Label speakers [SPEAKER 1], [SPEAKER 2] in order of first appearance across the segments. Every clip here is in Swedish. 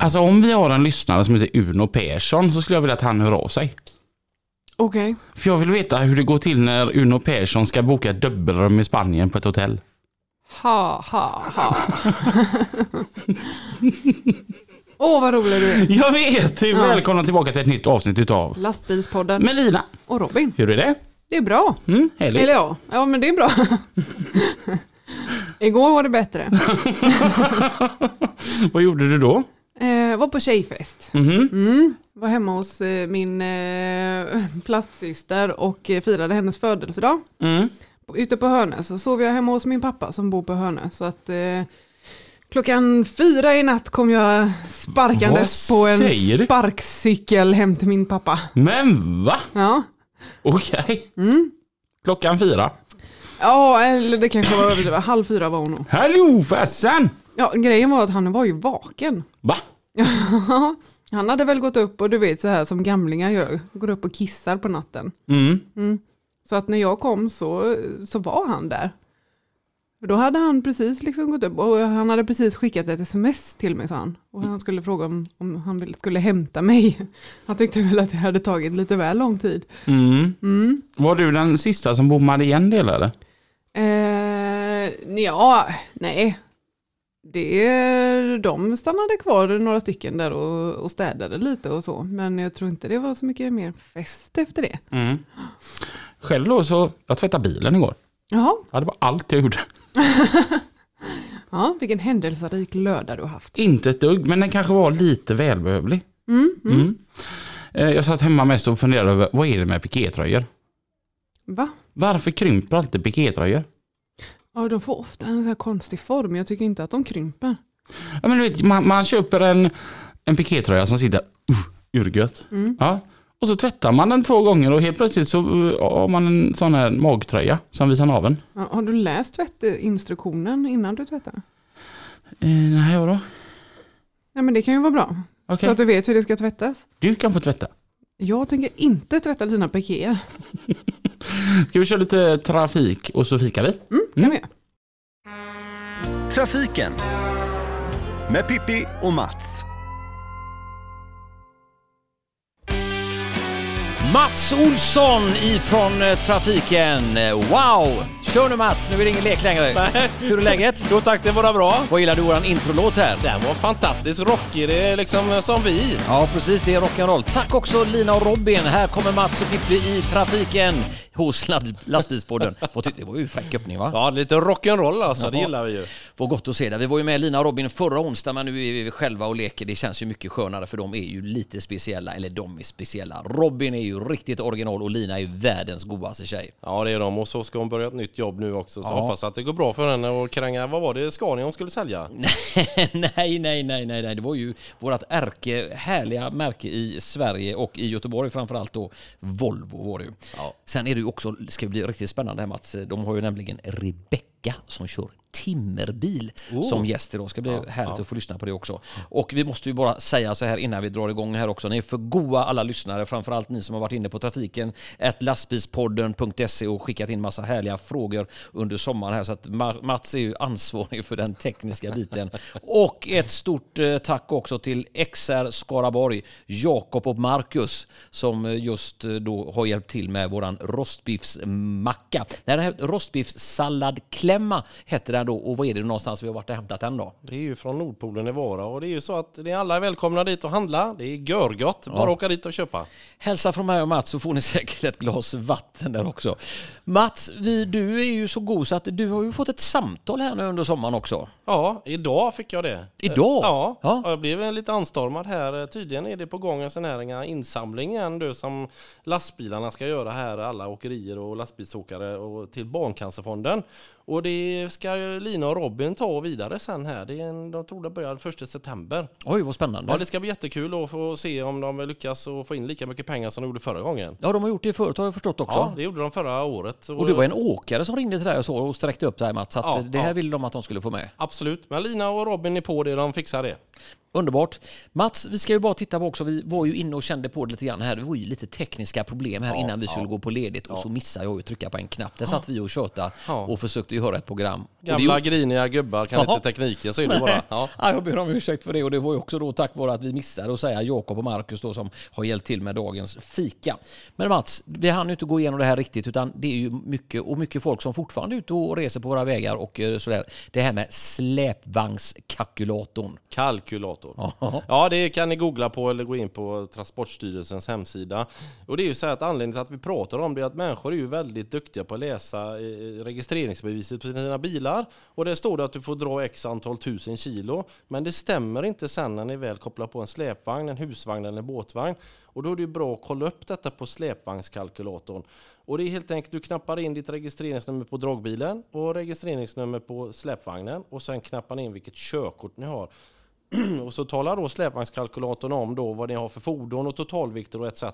[SPEAKER 1] Alltså om vi har en lyssnare som heter Uno Persson så skulle jag vilja att han hör av sig.
[SPEAKER 2] Okej.
[SPEAKER 1] För jag vill veta hur det går till när Uno Persson ska boka ett dubbelrum i Spanien på ett hotell.
[SPEAKER 2] Ha, ha, ha. Åh, vad rolig du är.
[SPEAKER 1] Jag vet!
[SPEAKER 2] Ja.
[SPEAKER 1] Välkomna tillbaka till ett nytt avsnitt utav
[SPEAKER 2] Lastbilspodden
[SPEAKER 1] Men Lina,
[SPEAKER 2] och Robin.
[SPEAKER 1] hur är det?
[SPEAKER 2] Det är bra.
[SPEAKER 1] Mm, härligt.
[SPEAKER 2] Eller ja, ja men det är bra. Igår var det bättre.
[SPEAKER 1] Vad gjorde du då?
[SPEAKER 2] Eh, var på tjejfest.
[SPEAKER 1] Mhm.
[SPEAKER 2] Mm. Var hemma hos eh, min eh, plastsyster och eh, firade hennes födelsedag.
[SPEAKER 1] Mm.
[SPEAKER 2] Ute på Hörnäs så sov jag hemma hos min pappa som bor på Hörnäs. Så att, eh, klockan fyra i natt kom jag sparkandes
[SPEAKER 1] Vad
[SPEAKER 2] på en
[SPEAKER 1] säger du?
[SPEAKER 2] sparkcykel hem till min pappa.
[SPEAKER 1] Men va?
[SPEAKER 2] Ja.
[SPEAKER 1] Okej.
[SPEAKER 2] Mm.
[SPEAKER 1] Klockan fyra.
[SPEAKER 2] ja, eller det kanske var det var halv fyra var hon nog.
[SPEAKER 1] Hallå farsan!
[SPEAKER 2] Ja, grejen var att han var ju vaken.
[SPEAKER 1] Va?
[SPEAKER 2] han hade väl gått upp och du vet så här som gamlingar gör, går upp och kissar på natten.
[SPEAKER 1] Mm.
[SPEAKER 2] Så att när jag kom så, så var han där. Och Då hade han precis liksom gått upp och han hade precis skickat ett sms till mig sa han. Och han skulle fråga om, om han ville- skulle hämta mig. Han tyckte väl att det hade tagit lite väl lång tid.
[SPEAKER 1] Mm.
[SPEAKER 2] Mm.
[SPEAKER 1] Var du den sista som bommade igen det eller?
[SPEAKER 2] Eh, ja, nej. Det, de stannade kvar några stycken där och, och städade lite och så. Men jag tror inte det var så mycket mer fest efter det.
[SPEAKER 1] Mm. Själv då så, jag tvättade bilen igår.
[SPEAKER 2] Jaha,
[SPEAKER 1] Ja, det var allt jag gjorde.
[SPEAKER 2] ja, vilken händelserik lördag du har haft.
[SPEAKER 1] Inte ett dugg, men den kanske var lite välbehövlig.
[SPEAKER 2] Mm, mm.
[SPEAKER 1] Mm. Eh, Jag satt hemma mest och funderade över, vad är det med pikétröjor?
[SPEAKER 2] Va?
[SPEAKER 1] Varför krymper alltid pikétröjor?
[SPEAKER 2] Ja, de får ofta en sån här konstig form. Jag tycker inte att de krymper.
[SPEAKER 1] Ja, men du vet, man, man köper en, en pikétröja som sitter uh, urgött.
[SPEAKER 2] Mm.
[SPEAKER 1] Ja. Och så tvättar man den två gånger och helt plötsligt så uh, har man en sån här magtröja som visar naveln.
[SPEAKER 2] Ja, Har du läst tvättinstruktionen innan du tvättar?
[SPEAKER 1] Eh, nej, vadå?
[SPEAKER 2] Nej, men det kan ju vara bra.
[SPEAKER 1] Okej,
[SPEAKER 2] Så att du vet hur det ska tvättas.
[SPEAKER 1] du kan få tvätta.
[SPEAKER 2] Jag tänker inte tvätta dina pikéer.
[SPEAKER 1] Ska vi köra lite trafik och så fikar vi?
[SPEAKER 2] Mm, Kan
[SPEAKER 1] Mm.
[SPEAKER 2] vi?
[SPEAKER 3] Trafiken med Pippi och Mats.
[SPEAKER 4] Mats Olsson ifrån eh, trafiken. Wow! Kör nu Mats, nu är det ingen lek längre. Hur är läget?
[SPEAKER 5] Jo tack, det var bra.
[SPEAKER 4] Vad gillar du våran introlåt här?
[SPEAKER 5] Den var fantastiskt rockig, det är liksom som vi.
[SPEAKER 4] Ja precis, det är rock'n'roll. Tack också Lina och Robin. Här kommer Mats och Pippi i trafiken hos lad- lastbilspodden. Vad tyckte- Det var ju en fräck öppning va?
[SPEAKER 5] Ja, lite rock'n'roll alltså, det gillar vi ju.
[SPEAKER 4] Vad gott att se det. Vi var ju med Lina och Robin förra onsdagen men nu är vi själva och leker. Det känns ju mycket skönare för de är ju lite speciella, eller de är speciella. Robin är ju riktigt original och Lina är världens godaste tjej.
[SPEAKER 5] Ja, det är de. Och så ska hon börja ett nytt jobb nu också, så
[SPEAKER 4] Ja.
[SPEAKER 5] hoppas att det går bra för henne och kränga, vad var det, Scania hon skulle sälja?
[SPEAKER 4] nej, nej, nej, nej, nej. Det var ju vårt ärke, härliga märke i Sverige och i Göteborg framförallt då. Volvo var det ju. Sen är det ju också, ska bli riktigt spännande här Mats, de har ju nämligen Rebecca som kör timmerbil som gäst idag. Ska bli härligt att få lyssna på det också. Och vi måste ju bara säga så här innan vi drar igång här också. Ni är för goa alla lyssnare, framförallt ni som har varit inne på trafiken, at lastbilspodden.se E och skickat in massa härliga frågor under sommaren här. Så att Ma- Mats är ju ansvarig för den tekniska biten. Och ett stort eh, tack också till XR Skaraborg, Jakob och Marcus som eh, just eh, då har hjälpt till med våran rostbiffsmacka. Nej, Den här rostbiffssalladklämma heter den då och vad är det någonstans vi har varit och hämtat den då?
[SPEAKER 5] Det är ju från Nordpolen i Vara och det är ju så att ni alla är välkomna dit och handla. Det är görgott, bara åka dit och köpa.
[SPEAKER 4] Hälsa från mig och Mats så får ni säkert ett glas vatten där också. Mats, vi, du är ju så god så att du har ju fått ett samtal här nu under sommaren också.
[SPEAKER 5] Ja, idag fick jag det.
[SPEAKER 4] Idag?
[SPEAKER 5] Ja,
[SPEAKER 4] Ja.
[SPEAKER 5] jag blev lite anstormad här. Eh, Tydligen är det på gång en sån här insamling igen du, som lastbilarna ska göra här, alla åkerier och lastbilsåkare och till Barncancerfonden. Och Och det ska ju Lina och Robin ta vidare sen här. Det är en, de tror det börjar 1 september.
[SPEAKER 4] Oj, vad spännande.
[SPEAKER 5] Ja,
[SPEAKER 4] Ja,
[SPEAKER 5] det ska bli jättekul att få se om de lyckas och få in lika mycket pengar som de gjorde förra gången.
[SPEAKER 4] de har gjort det förut har jag förstått också.
[SPEAKER 5] Ja, det gjorde de förra året.
[SPEAKER 4] Och det var en åkare som ringde till dig och så och sträckte upp dig Mats, att
[SPEAKER 5] Ja,
[SPEAKER 4] det här
[SPEAKER 5] ja.
[SPEAKER 4] ville de att de skulle få med.
[SPEAKER 5] Absolut, men Lina och Robin är på det, de fixar det.
[SPEAKER 4] Underbart. Mats, vi ska ju bara titta på också, vi var ju inne och kände på det lite grann här. Det var ju lite tekniska problem här innan vi skulle gå på ledigt och så missade jag ju att trycka på en knapp. Där satt vi och tjötade
[SPEAKER 5] Ja.
[SPEAKER 4] och försökte ju höra ett program. Och det
[SPEAKER 5] Gamla griniga gubbar kan
[SPEAKER 4] Ja.
[SPEAKER 5] inte tekniken, så är det bara. Ja.
[SPEAKER 4] Ja, jag ber om ursäkt för det och det var ju också då tack vare att vi missade att säga Jakob och Marcus då som har hjälpt till med dagens fika. Men Mats, vi hann ju inte gå igenom det här riktigt utan det är ju mycket och mycket folk som fortfarande är ute och reser på våra vägar och eh, sådär. Det här med släpvagnskalkylatorn.
[SPEAKER 5] Kalkylatorn.
[SPEAKER 4] Ja.
[SPEAKER 5] Ja, det kan ni googla på eller gå in på Transportstyrelsens hemsida. Och det är ju så här att anledningen till att vi pratar om det är att människor är ju väldigt duktiga på att läsa eh, registreringsbeviset på sina bilar. Och där står det att du får dra x antal tusen kilo. Men det stämmer inte sen när ni väl kopplar på en släpvagn, en husvagn eller en båtvagn. Och då är det ju bra att kolla upp detta på släpvagnskalkylatorn. Och det är helt enkelt, du knappar in ditt registreringsnummer på dragbilen och registreringsnummer på släpvagnen och sen knappar ni in vilket körkort ni har. Och så talar då släpvagnskalkylatorn om då vad ni har för fordon och totalvikter och etc.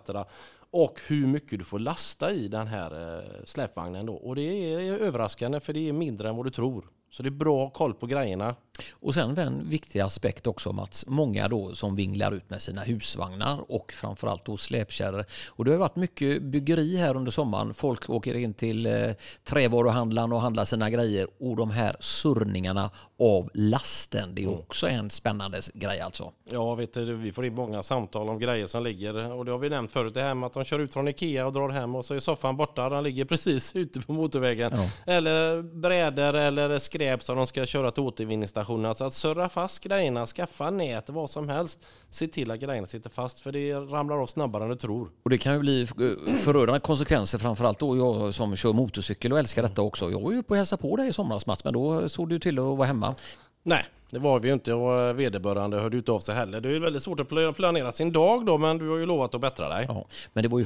[SPEAKER 5] Och hur mycket du får lasta i den här eh, släpvagnen då. Och det är överraskande för det är mindre än vad du tror. Så det är bra att ha koll på grejerna.
[SPEAKER 4] Och sen en viktig aspekt också Mats, många då som vinglar ut med sina husvagnar och framförallt då släpkärror. Och det har varit mycket byggeri här under sommaren. Folk åker in till eh, trävaruhandlaren och handlar sina grejer och de här surrningarna av lasten. Det är också en spännande s- grej alltså.
[SPEAKER 5] Ja, vet du, vi får in många samtal om grejer som ligger. Och det har vi nämnt förut, det här med att de kör ut från Ikea och drar hem och så är soffan borta. Den ligger precis ute på motorvägen. Eller brädor eller skräp som de ska köra till återvinningsstationen. Alltså att surra fast grejerna, skaffa nät, vad som helst. Se till att grejerna sitter fast, för det ramlar av snabbare än du tror.
[SPEAKER 4] Och det kan ju bli eh, förödande konsekvenser framförallt då jag som kör motorcykel och älskar detta också. Jag var ju uppe och hälsade på dig i somras Mats, men då såg du till att vara hemma.
[SPEAKER 5] Nej, det var vi ju inte och eh, vederbörande hörde ut av sig heller. Det är ju väldigt svårt att pla- planera sin dag då, men du har ju lovat att bättra dig.
[SPEAKER 4] Ja, men det var ju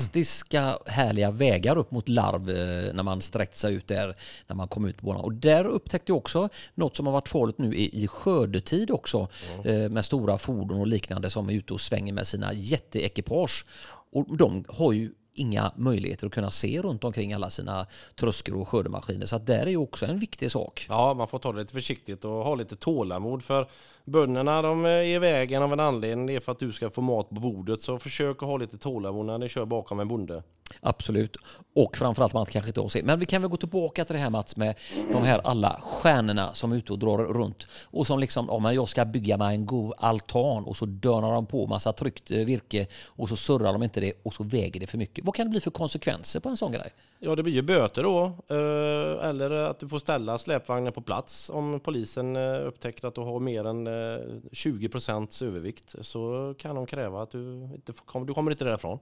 [SPEAKER 4] fantastiska härliga vägar upp mot Larv eh, när man sträckte sig ut där när man kom ut på banan. Och där upptäckte jag också något som har varit farligt nu i, i skördetid också eh, med stora fordon och liknande som är ute och svänger med sina jätteekipage. Och de har ju inga möjligheter att kunna se runt omkring alla sina tröskor och skördemaskiner. Så att där är ju också en viktig sak.
[SPEAKER 5] Ja, man får ta det lite försiktigt och ha lite tålamod för bönderna de är i vägen av en anledning. Det är för att du ska få mat på bordet. Så försök att ha lite tålamod när ni kör bakom en bonde.
[SPEAKER 4] Absolut. Och framförallt man kanske inte har sett. Men vi kan väl gå tillbaka till det här Mats med de här alla stjärnorna som är ute och drar runt och som liksom, ja men jag ska bygga mig en god altan och så dönar de på massa tryckt eh, virke och så surrar de inte det och så väger det för mycket. Vad kan det bli för konsekvenser på en sån grej?
[SPEAKER 5] Ja, det blir ju böter då. eh, Eller att du får ställa släpvagnen på plats om polisen eh, upptäcker att du har mer än eh, 20 procents övervikt. Så kan de kräva att du inte får- kom- du kommer inte därifrån.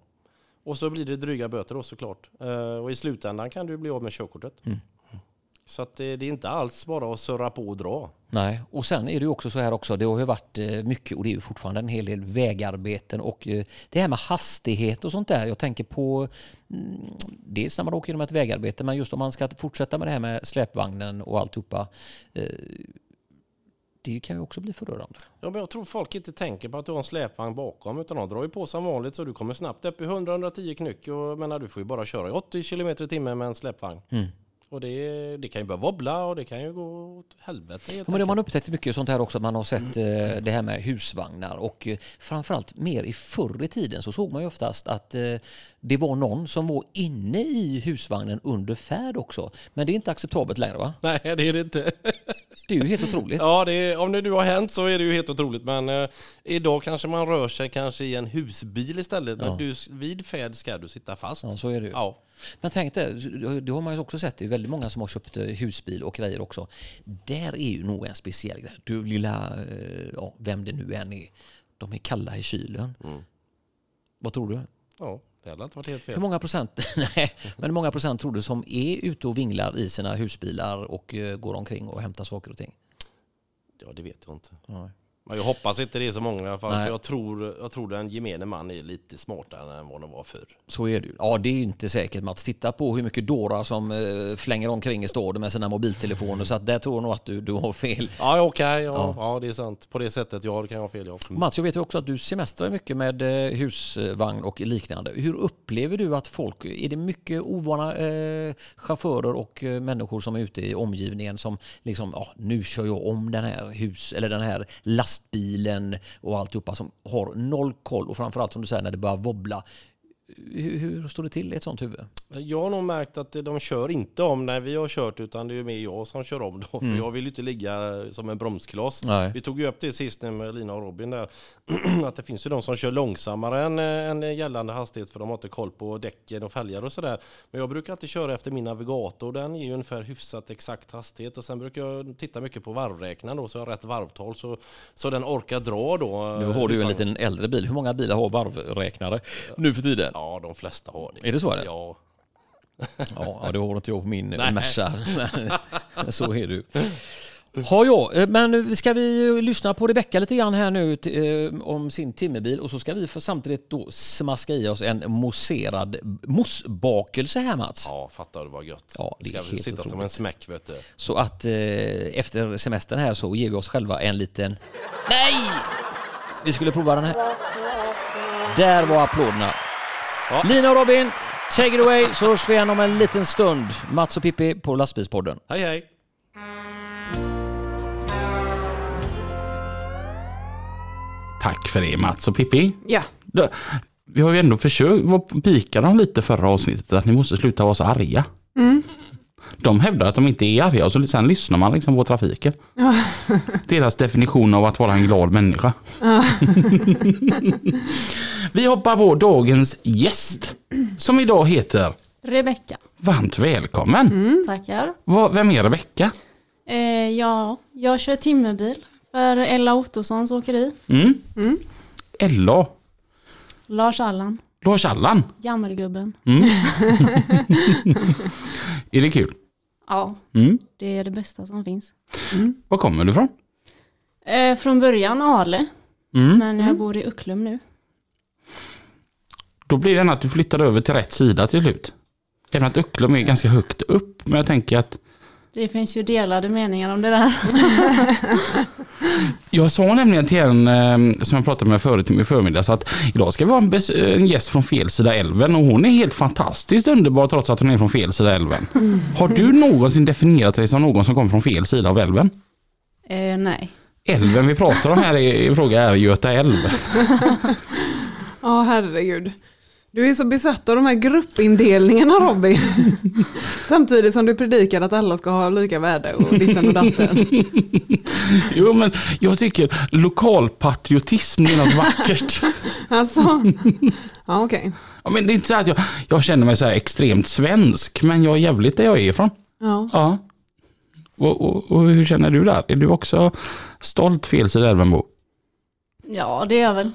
[SPEAKER 5] Och så blir det dryga böter då såklart. Eh, Och i slutändan kan du bli av med körkortet. Så att eh, det, det är inte alls bara att surra på och dra.
[SPEAKER 4] Nej, och sen är det ju också så här också, det har ju varit eh, mycket och det är ju fortfarande en hel del vägarbeten och eh, det här med hastighet och sånt där. Jag tänker på mm, dels när man åker genom ett vägarbete men just om man ska fortsätta med det här med släpvagnen och alltihopa. eh, Det kan ju också bli förödande.
[SPEAKER 5] Ja, men jag tror folk inte tänker på att du har en släpvagn bakom utan de drar ju på som vanligt så du kommer snabbt upp i 100-110 knyck. Och, men du får ju bara köra i 80 km i timmen med en släpvagn.
[SPEAKER 4] Mm.
[SPEAKER 5] Och det, det kan ju börja wobbla och det kan ju gå åt helvete
[SPEAKER 4] Ja, men
[SPEAKER 5] helt
[SPEAKER 4] det har
[SPEAKER 5] enkelt.
[SPEAKER 4] man upptäckt mycket sånt här också, att man har sett eh, det här med husvagnar och eh, framförallt mer i förr i tiden så såg man ju oftast att eh, det var någon som var inne i husvagnen under färd också. Men det är inte acceptabelt längre va?
[SPEAKER 5] Nej, det är det inte.
[SPEAKER 4] Det är ju helt otroligt.
[SPEAKER 5] Ja, det är, om det nu har hänt så är det ju helt otroligt. Men eh, idag kanske man rör sig kanske i en husbil istället. Men du, vid färd ska du sitta fast.
[SPEAKER 4] Ja, så är det ju.
[SPEAKER 5] Ja.
[SPEAKER 4] Men tänk dig, det har man ju också sett, det är väldigt många som har köpt eh, husbil och grejer också. Där är ju nog en speciell grej. Du lilla, eh, ja, vem det nu än är, de är kalla i kylen. Vad tror du?
[SPEAKER 5] ja, det hade inte varit helt
[SPEAKER 4] Hur
[SPEAKER 5] fel.
[SPEAKER 4] många procent, nej, men hur många procent tror du som är ute och vinglar i sina husbilar och eh, går omkring och hämtar saker och ting?
[SPEAKER 5] Ja, det vet jag inte. Men jag hoppas inte det är så många i alla fall.
[SPEAKER 4] Nej.
[SPEAKER 5] För jag tror, jag tror den gemene man är lite smartare än vad den var förr.
[SPEAKER 4] Så är det ju. Ja, det är ju inte säkert Mats. Titta på hur mycket dårar som eh, flänger omkring i staden med sina mobiltelefoner. Så att där tror jag nog att du, du har fel.
[SPEAKER 5] Ja, okej. ja, ja. det är sant. På det sättet, ja, det kan jag ha fel. Ja.
[SPEAKER 4] Mats, jag vet ju också att du semestrar mycket med eh, husvagn och liknande. Hur upplever du att folk, är det mycket ovana eh, chaufförer och eh, människor som är ute i omgivningen som liksom, ja, nu kör jag om den här hus eller den här lastbilen och alltihopa som har noll koll och framförallt som du säger när det börjar wobbla. Hur, hur står det till i ett sånt huvud?
[SPEAKER 5] Jag har nog märkt att de kör inte om när vi har kört utan det är ju mer jag som kör om då. För jag vill ju inte ligga som en bromskloss.
[SPEAKER 4] Mm. Nej.
[SPEAKER 5] Vi tog ju upp det sist nu med Lina och Robin där. att det finns ju de som kör långsammare än, eh, än gällande hastighet för de har inte koll på däcken och fälgar och sådär. Men jag brukar alltid köra efter min navigator. Den ger ju ungefär hyfsat exakt hastighet och sen brukar jag titta mycket på varvräknaren då så jag har rätt varvtal så, så den orkar dra då. liksom.
[SPEAKER 4] Nu har du ju en liten äldre bil. Hur många bilar har varvräknare nu för tiden?
[SPEAKER 5] Ja, de flesta har det.
[SPEAKER 4] Är det så, eller?
[SPEAKER 5] Ja.
[SPEAKER 4] Ja, ja, det har inte jag på min Merca. Så är du. Har jag, men ska vi lyssna på Rebecka lite grann här nu t- eh, om sin timmerbil och så ska vi för samtidigt då smaska i oss en moserad mosbakelse här Mats.
[SPEAKER 5] Ja, fattar du vad gött.
[SPEAKER 4] Ja, det är
[SPEAKER 5] Ska vi
[SPEAKER 4] helt
[SPEAKER 5] sitta som
[SPEAKER 4] otroligt.
[SPEAKER 5] en smäck vet du.
[SPEAKER 4] Så att eh, efter semestern här så ger vi oss själva en liten... Nej! Vi skulle prova den här. Där var applåderna. Lina och Robin, take it away så hörs vi igen om en liten stund. Mats och Pippi på Lastbilspodden.
[SPEAKER 5] Hej hej!
[SPEAKER 1] Tack för det Mats och Pippi.
[SPEAKER 2] Ja,
[SPEAKER 1] Då- Vi har ju ändå försökt vad- pika dem lite förra avsnittet att ni måste sluta vara så arga. De hävdar att de inte är arga och så sen lyssnar man liksom på trafiken. Deras definition av att vara en glad människa. Vi hoppar på dagens gäst som idag heter
[SPEAKER 6] Rebecka.
[SPEAKER 1] Varmt välkommen.
[SPEAKER 6] Mm. Tackar.
[SPEAKER 1] Vad- Vem är Rebecka?
[SPEAKER 6] Eh, ja, jag kör timmerbil för Ella Ottossons åkeri.
[SPEAKER 1] Mm. Ella,
[SPEAKER 6] Lars Allan,
[SPEAKER 1] Lars Allan.
[SPEAKER 6] gammelgubben.
[SPEAKER 1] Mm. Är det kul?
[SPEAKER 6] Ja,
[SPEAKER 1] Mm.
[SPEAKER 6] det är det bästa som finns.
[SPEAKER 1] Var kommer du ifrån?
[SPEAKER 6] Eh, från början Ale,
[SPEAKER 1] Mm.
[SPEAKER 6] men jag bor i Ucklum nu.
[SPEAKER 1] Då blir det ändå att du flyttar över till rätt sida till slut. Även att Ucklum är ganska högt upp, men jag tänker att
[SPEAKER 6] Det finns ju delade meningar om det där.
[SPEAKER 1] jag sa nämligen till en eh, som jag pratade med förut i förmiddags att idag ska vi ha en, bes- en gäst från fel sida älven och hon är helt fantastiskt underbar trots att hon är från fel sida älven. Har du någonsin definierat dig som någon som kommer från fel sida av älven?
[SPEAKER 6] Eh, nej.
[SPEAKER 1] Älven vi pratar om här i, i fråga är Göta älv.
[SPEAKER 2] ja herregud. Du är så besatt av de här gruppindelningarna Robin. Samtidigt som du predikar att alla ska ha lika värde och ditten och datten.
[SPEAKER 1] Jo men jag tycker lokalpatriotism är något vackert.
[SPEAKER 2] Alltså, ja okej.
[SPEAKER 1] Ja, men det är inte så att jag, jag känner mig så här extremt svensk, men jag är jävligt där jag är ifrån.
[SPEAKER 2] Ja.
[SPEAKER 1] Ja. Och, och, och hur känner du där? Är du också stolt felsida Elvenbo?
[SPEAKER 6] Ja, det är jag väl.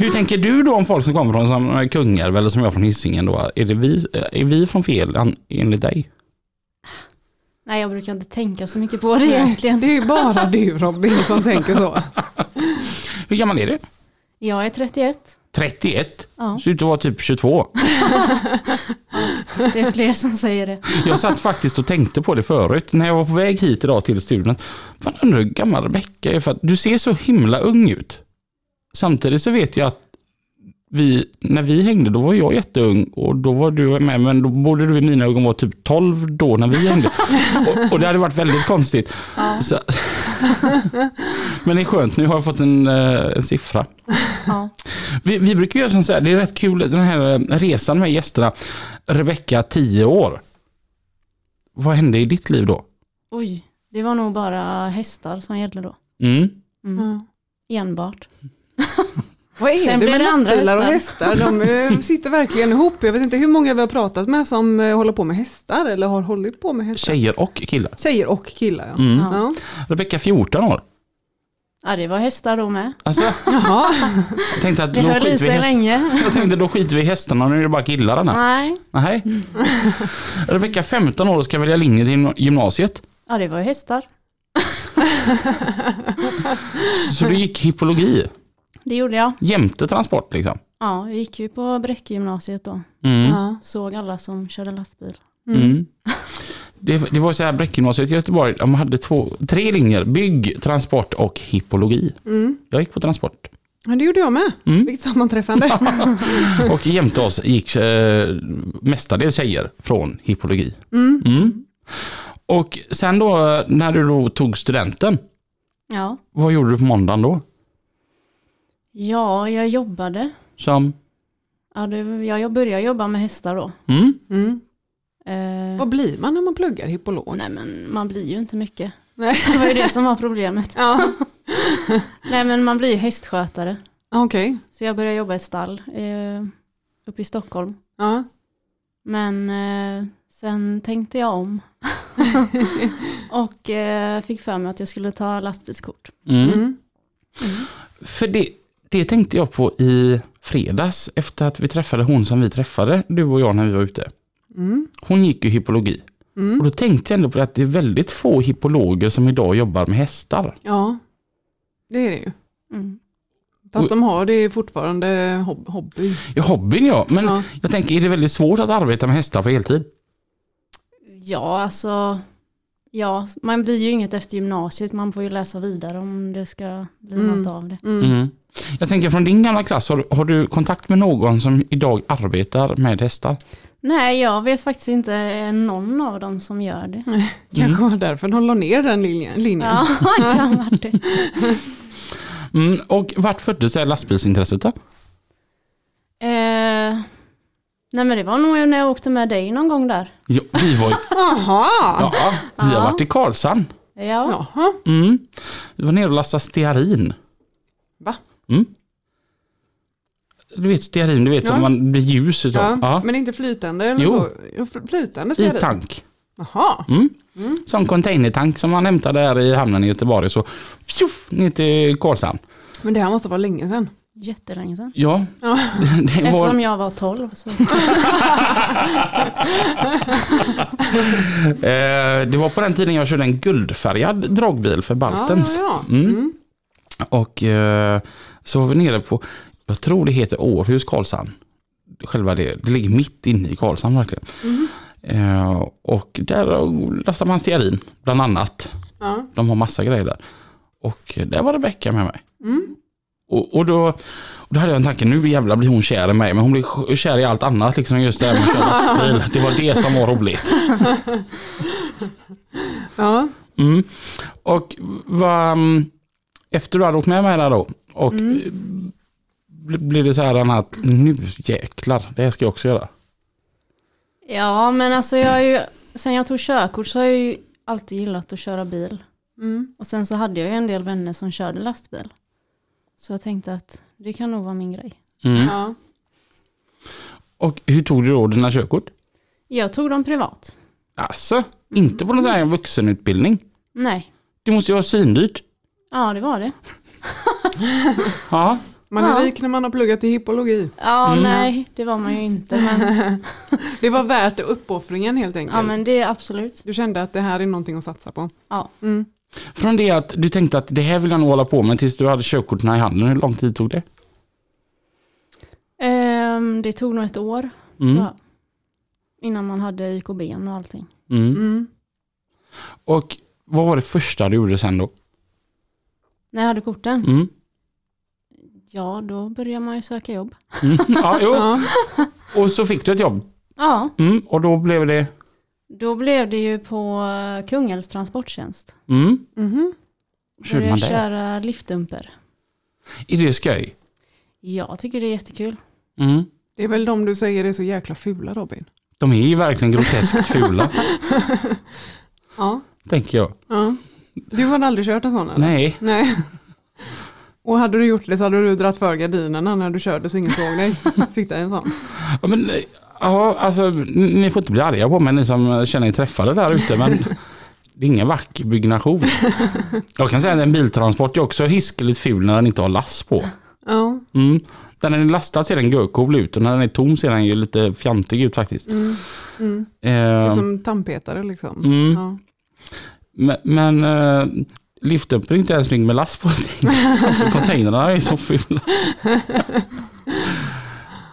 [SPEAKER 1] Hur tänker du då om folk som kommer från som Kungälv eller som jag från Hisingen då? Är, det vi, är vi från fel an- enligt dig?
[SPEAKER 6] Nej, jag brukar inte tänka så mycket på det egentligen.
[SPEAKER 2] Det är ju bara du Robin som tänker så.
[SPEAKER 1] Hur gammal är du?
[SPEAKER 6] Jag är 31.
[SPEAKER 1] 31?
[SPEAKER 6] Ja.
[SPEAKER 1] Ser ut att vara typ 22.
[SPEAKER 6] Det är fler som säger det.
[SPEAKER 1] Jag satt faktiskt och tänkte på det förut när jag var på väg hit idag till studion. Fan undrar hur gammal Rebecka är för att du ser så himla ung ut. Samtidigt så vet jag att vi, när vi hängde då var jag jätteung och då var du med men då borde du i mina ögon vara typ 12 då när vi hängde. Och, och det hade varit väldigt konstigt. Så, men det är skönt, nu har jag fått en, eh, en siffra.
[SPEAKER 6] Ja.
[SPEAKER 1] Vi, vi brukar göra så här, det är rätt kul den här resan med gästerna. Rebecka 10 år. Vad hände i ditt liv då?
[SPEAKER 6] Oj, det var nog bara hästar som gällde då.
[SPEAKER 1] Mm.
[SPEAKER 2] Ja.
[SPEAKER 6] Enbart.
[SPEAKER 2] Vad är
[SPEAKER 6] Sen
[SPEAKER 2] det
[SPEAKER 6] blir
[SPEAKER 2] med
[SPEAKER 6] det andra
[SPEAKER 2] lastbilar och hästar? De eh, sitter verkligen ihop. Jag vet inte hur många vi har pratat med som eh, håller på med hästar eller har hållit på med hästar.
[SPEAKER 1] Tjejer och killar.
[SPEAKER 2] Tjejer och killar ja.
[SPEAKER 1] Mm.
[SPEAKER 6] Ja.
[SPEAKER 2] ja.
[SPEAKER 1] Rebecka 14 år.
[SPEAKER 6] Ja, det var hästar då med.
[SPEAKER 1] Alltså,
[SPEAKER 2] Jaha.
[SPEAKER 1] jag tänkte att
[SPEAKER 6] Det
[SPEAKER 1] då
[SPEAKER 6] höll
[SPEAKER 1] skiter
[SPEAKER 6] i
[SPEAKER 1] vi i
[SPEAKER 6] sig
[SPEAKER 1] häst-
[SPEAKER 6] länge.
[SPEAKER 1] jag tänkte då skiter vi i hästarna, nu är det bara killarna.
[SPEAKER 6] Nej,
[SPEAKER 1] Nej. Rebecka 15 år och ska välja linje till gymnasiet.
[SPEAKER 6] ja det var ju hästar.
[SPEAKER 1] Så du gick hippologi
[SPEAKER 6] Det gjorde jag.
[SPEAKER 1] jämte transport liksom?
[SPEAKER 6] Ja, jag gick ju på Bräckegymnasiet då.
[SPEAKER 1] Mm.
[SPEAKER 2] Ja.
[SPEAKER 6] Såg alla som körde lastbil.
[SPEAKER 1] Mm. Det, det var så här, Bräckegymnasiet i Göteborg, de hade två, tre linjer, bygg, transport och hippologi.
[SPEAKER 2] Mm.
[SPEAKER 1] Jag gick på transport.
[SPEAKER 2] Ja, det gjorde jag med.
[SPEAKER 1] Mm.
[SPEAKER 2] Vilket sammanträffande.
[SPEAKER 1] Och jämte oss gick eh, mestadels tjejer från hippologi.
[SPEAKER 2] Mm.
[SPEAKER 1] Mm. Och sen då när du då tog studenten,
[SPEAKER 6] Ja.
[SPEAKER 1] vad gjorde du på måndagen då?
[SPEAKER 6] ja, jag jobbade.
[SPEAKER 1] Som,
[SPEAKER 6] Ja, det, jag började jobba med hästar då.
[SPEAKER 1] mm,
[SPEAKER 2] Mm.
[SPEAKER 6] Eh,
[SPEAKER 2] Vad blir man när man pluggar hippolog?
[SPEAKER 6] nej, men man blir ju inte mycket.
[SPEAKER 2] Nej.
[SPEAKER 6] Det var ju det som var problemet.
[SPEAKER 2] Ja.
[SPEAKER 6] Nej, men man blir ju hästskötare.
[SPEAKER 2] Ja, Okej.
[SPEAKER 6] Så jag började jobba i ett stall eh, uppe i Stockholm.
[SPEAKER 2] Ja.
[SPEAKER 6] Men eh, sen tänkte jag om. och eh, fick för mig att jag skulle ta lastbilskort.
[SPEAKER 1] mm.
[SPEAKER 2] Mm.
[SPEAKER 1] För det, det tänkte jag på i fredags efter att vi träffade hon som vi träffade, du och jag när vi var ute.
[SPEAKER 2] Mm.
[SPEAKER 1] Hon gick ju hippologi.
[SPEAKER 2] Mm.
[SPEAKER 1] Och då tänkte jag ändå på det att det är väldigt få hippologer som idag jobbar med hästar.
[SPEAKER 2] ja, det är det ju.
[SPEAKER 6] Mm.
[SPEAKER 2] Fast de har det fortfarande hob- hobby.
[SPEAKER 1] Ja, hobbyn ja, men
[SPEAKER 2] Ja.
[SPEAKER 1] jag tänker är det väldigt svårt att arbeta med hästar på heltid?
[SPEAKER 6] Ja, alltså. Ja, man blir ju inget efter gymnasiet. Man får ju läsa vidare om det ska bli
[SPEAKER 2] Mm.
[SPEAKER 6] något av det.
[SPEAKER 2] Mm.
[SPEAKER 1] Mm. Jag tänker från din gamla klass, har, har du kontakt med någon som idag arbetar med hästar?
[SPEAKER 6] Nej, jag vet faktiskt inte någon av dem som gör det.
[SPEAKER 2] Kanske var därför de la ner den linjen. linjen.
[SPEAKER 6] Ja, det kan vara det.
[SPEAKER 1] Mm, och vart föddes det här lastbilsintresset då?
[SPEAKER 6] Eh, nej, men det var nog när jag åkte med dig någon gång där.
[SPEAKER 1] Ja, vi var i,
[SPEAKER 2] Jaha.
[SPEAKER 1] ja, vi har varit i Karlshamn.
[SPEAKER 6] Ja,
[SPEAKER 2] Jaha.
[SPEAKER 1] Mm. Vi var nere och lastade stearin.
[SPEAKER 2] Va?
[SPEAKER 1] Mm. Du vet stearin, du vet
[SPEAKER 2] Ja.
[SPEAKER 1] som man blir ljus utav.
[SPEAKER 2] Ja,
[SPEAKER 1] Ja.
[SPEAKER 2] Men inte flytande eller
[SPEAKER 1] Jo.
[SPEAKER 2] så? Jo, fl- Flytande
[SPEAKER 1] I
[SPEAKER 2] stearin?
[SPEAKER 1] tank.
[SPEAKER 2] Jaha.
[SPEAKER 1] Mm. Som containertank som man hämtade där i hamnen i Göteborg. Så pjuff, ner till Karlshamn.
[SPEAKER 2] Men det här måste vara länge sedan.
[SPEAKER 6] jättelänge sedan.
[SPEAKER 1] Ja, det
[SPEAKER 6] Eftersom
[SPEAKER 1] var,
[SPEAKER 6] jag var 12. Så.
[SPEAKER 1] eh, det var på den tiden jag körde en guldfärgad dragbil för Baltens.
[SPEAKER 2] Ja, ja, ja.
[SPEAKER 1] Mm.
[SPEAKER 2] Mm.
[SPEAKER 1] Och eh, så var vi nere på, jag tror det heter Århus Karlshamn. Själva det, det ligger mitt inne i Karlshamn verkligen. Eh, och där lastar man stearin bland annat.
[SPEAKER 2] Ja.
[SPEAKER 1] De har massa grejer där. Och där var Rebecka med mig. Och, och, då, och då hade jag en tanke, nu jävlar blir hon kär i mig. Men hon blir sj- kär i allt annat, liksom just det här med att köra lastbil. Det var det som var roligt.
[SPEAKER 2] ja.
[SPEAKER 1] Mm. Och vad, mm, efter du hade åkt med mig där då, och bl- blev det så här att nu jäklar, det här ska jag också göra.
[SPEAKER 6] Ja, men alltså jag har ju, sen jag tog körkort så har jag ju alltid gillat att köra bil.
[SPEAKER 2] Mm.
[SPEAKER 6] Och sen så hade jag ju en del vänner som körde lastbil. Så jag tänkte att det kan nog vara min grej.
[SPEAKER 2] ja.
[SPEAKER 1] Och hur tog du då dina körkort?
[SPEAKER 6] Jag tog dem privat.
[SPEAKER 1] Alltså, inte på någon sån här vuxenutbildning.
[SPEAKER 6] Nej,
[SPEAKER 1] Det måste ju vara svindyrt.
[SPEAKER 6] ja det var det.
[SPEAKER 1] Ja.
[SPEAKER 2] Man
[SPEAKER 6] Ja.
[SPEAKER 2] är rik när man har pluggat i hippologi.
[SPEAKER 6] Ja, nej, Mm. det var man ju inte. Men,
[SPEAKER 2] Det var värt uppoffringen helt enkelt.
[SPEAKER 6] ja, men det är absolut.
[SPEAKER 2] Du kände att det här är någonting att satsa på.
[SPEAKER 6] Ja.
[SPEAKER 2] Mm.
[SPEAKER 1] Från det att du tänkte att det här vill jag nog hålla på med tills du hade körkorten i handen, hur lång tid tog det?
[SPEAKER 6] Ehm, det tog nog ett år
[SPEAKER 1] Mm.
[SPEAKER 6] ja, innan man hade YKB och allting.
[SPEAKER 1] Mm.
[SPEAKER 2] Mm.
[SPEAKER 1] Och vad var det första du gjorde sen då?
[SPEAKER 6] När jag hade korten,
[SPEAKER 1] Mm.
[SPEAKER 6] ja då började man ju söka jobb.
[SPEAKER 1] Mm. Ja, jo.
[SPEAKER 2] Ja.
[SPEAKER 1] Och så fick du ett jobb.
[SPEAKER 6] Ja,
[SPEAKER 1] Mm. Och då blev det...
[SPEAKER 6] då blev det ju på eh, Kungälvs transporttjänst.
[SPEAKER 1] Mm.
[SPEAKER 2] Mhm.
[SPEAKER 1] Körde man
[SPEAKER 6] jag
[SPEAKER 1] det?
[SPEAKER 6] köra liftdumper.
[SPEAKER 1] Är det skoj?
[SPEAKER 6] Jag tycker det är jättekul.
[SPEAKER 1] Mm.
[SPEAKER 2] Det är väl de du säger är så jäkla fula Robin.
[SPEAKER 1] De är ju verkligen groteskt fula,
[SPEAKER 2] Ja.
[SPEAKER 1] tänker jag.
[SPEAKER 2] ja. Du hade aldrig kört en sån eller?
[SPEAKER 1] Nej,
[SPEAKER 2] Nej. Och hade du gjort det så hade du dragit för gardinerna när du körde så ingen såg dig. Sitta i en sån.
[SPEAKER 1] ja, men eh, ja, alltså, ni ni får inte bli arga på mig, ni som eh, känner er träffade där ute, men det är ingen vacker byggnation. Jag kan säga att en biltransport är också hiskeligt ful när den inte har lass på.
[SPEAKER 2] Ja.
[SPEAKER 1] Mm. När den är lastad ser den görcool ut och när den är tom ser den ju lite fjantig ut faktiskt.
[SPEAKER 2] Mm. Mm.
[SPEAKER 1] Eh,
[SPEAKER 2] Så som tandpetare liksom.
[SPEAKER 1] Mm.
[SPEAKER 2] Ja.
[SPEAKER 1] men men eh, Liftuppen är inte ens byggd med last på. För containrarna är så fula.